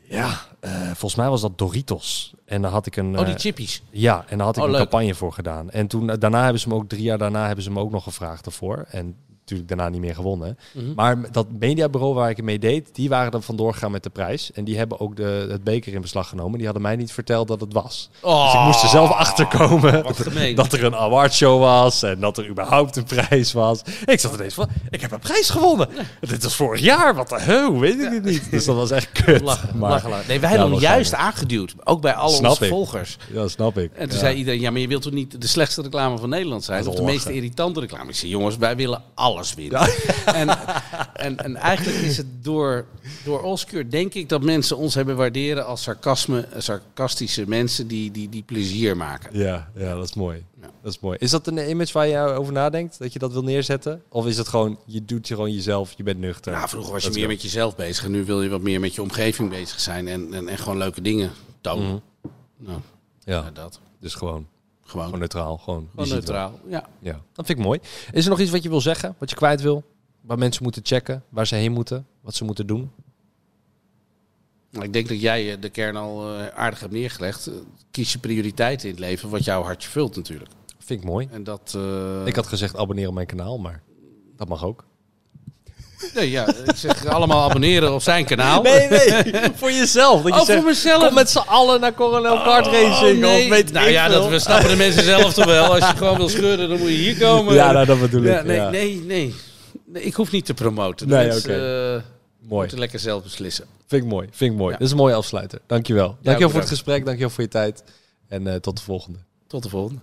S1: Ja, eh, volgens mij was dat Doritos. En daar had ik een.
S2: oh,
S1: eh,
S2: die chippies.
S1: ja, en daar had ik
S2: Oh,
S1: een
S2: leuk.
S1: campagne voor gedaan. En toen, eh, daarna hebben ze me ook, drie jaar daarna hebben ze me ook nog gevraagd ervoor. En natuurlijk daarna niet meer gewonnen.
S2: Mhm.
S1: Maar dat mediabureau waar ik het mee deed, die waren er vandoor gegaan met de prijs. En die hebben ook de, het beker in beslag genomen. Die hadden mij niet verteld dat het was. Dus ik moest er zelf achter komen
S2: Oh. gemeen.
S1: dat er een awardshow was en dat er überhaupt een prijs was. Ik zat ineens van, ik heb een prijs gewonnen. Dit was vorig jaar, wat de heu, weet ik het niet. Dus dat was echt kut.
S2: Lachen,
S1: Maar-
S2: lachen, lachen. Nee, wij
S1: Ja,
S2: hebben hem
S1: was
S2: juist aangeduwd. Ook bij al
S1: Snap
S2: onze
S1: ik.
S2: volgers.
S1: Ja, snap ik.
S2: En toen
S1: Ja.
S2: zei iedereen, ja, maar je wilt toch niet de slechtste reclame van Nederland zijn?
S1: Dat
S2: Of
S1: is
S2: de meest
S1: lachen.
S2: irritante reclame? Ik zei, jongens, wij willen alles winnen. En, en, en eigenlijk is het door, door Oscar, denk ik, dat mensen ons hebben waarderen als sarcasme, eh, sarcastische mensen die, die, die plezier maken.
S1: Ja, ja, dat is mooi.
S2: Ja.
S1: Dat is mooi. Is dat een image waar je over nadenkt? Dat je dat wil neerzetten? Of is het gewoon, je doet je gewoon jezelf, je bent nuchter?
S2: Nou, vroeger was je
S1: Dat
S2: meer
S1: is
S2: met jezelf bezig en nu wil je wat meer met je omgeving bezig zijn en, en, en gewoon leuke dingen tonen.
S1: Mhm.
S2: Nou,
S1: wel-
S2: ja,
S1: Ja,
S2: dat.
S1: dus gewoon,
S2: Gewoon,
S1: gewoon neutraal. Gewoon, je
S2: gewoon
S1: ziet wel.
S2: neutraal. Ja.
S1: Ja, dat vind ik mooi. Is er nog iets wat je wil zeggen? Wat je kwijt wil? Waar mensen moeten checken? Waar ze heen moeten? Wat ze moeten doen?
S2: Maar Ik denk dat jij eh, de kern al eh, aardig hebt neergelegd. Eh, Kies je prioriteiten in het leven, wat jouw hartje vult natuurlijk.
S1: Vind ik mooi.
S2: En dat... eh,
S1: Ik had gezegd abonneer op mijn kanaal, maar dat mag ook.
S2: Nee, ja, ik zeg allemaal abonneren op zijn kanaal.
S1: nee. voor jezelf. Dat
S2: Oh, voor mezelf.
S1: Kom met z'n allen naar Coronel Kart Racing.
S2: Oh, nee.
S1: Of weet
S2: nou
S1: ik
S2: ja,
S1: veel.
S2: dat we snappen de mensen zelf toch wel. Als je gewoon wil scheuren, dan moet je hier komen.
S1: Ja, nou, dat bedoel ik.
S2: Ja, nee,
S1: ja.
S2: nee, nee, nee. Ik hoef niet te promoten.
S1: Nee,
S2: Nee, mensen eh,
S1: Mooi.
S2: moeten lekker zelf beslissen.
S1: Vind ik mooi. Vind ik mooi. Dat is een mooie afsluiter. Dankjewel. Dankjewel voor het
S2: bedankt.
S1: gesprek. Dankjewel voor je tijd. En eh, tot de volgende.
S2: Tot de volgende.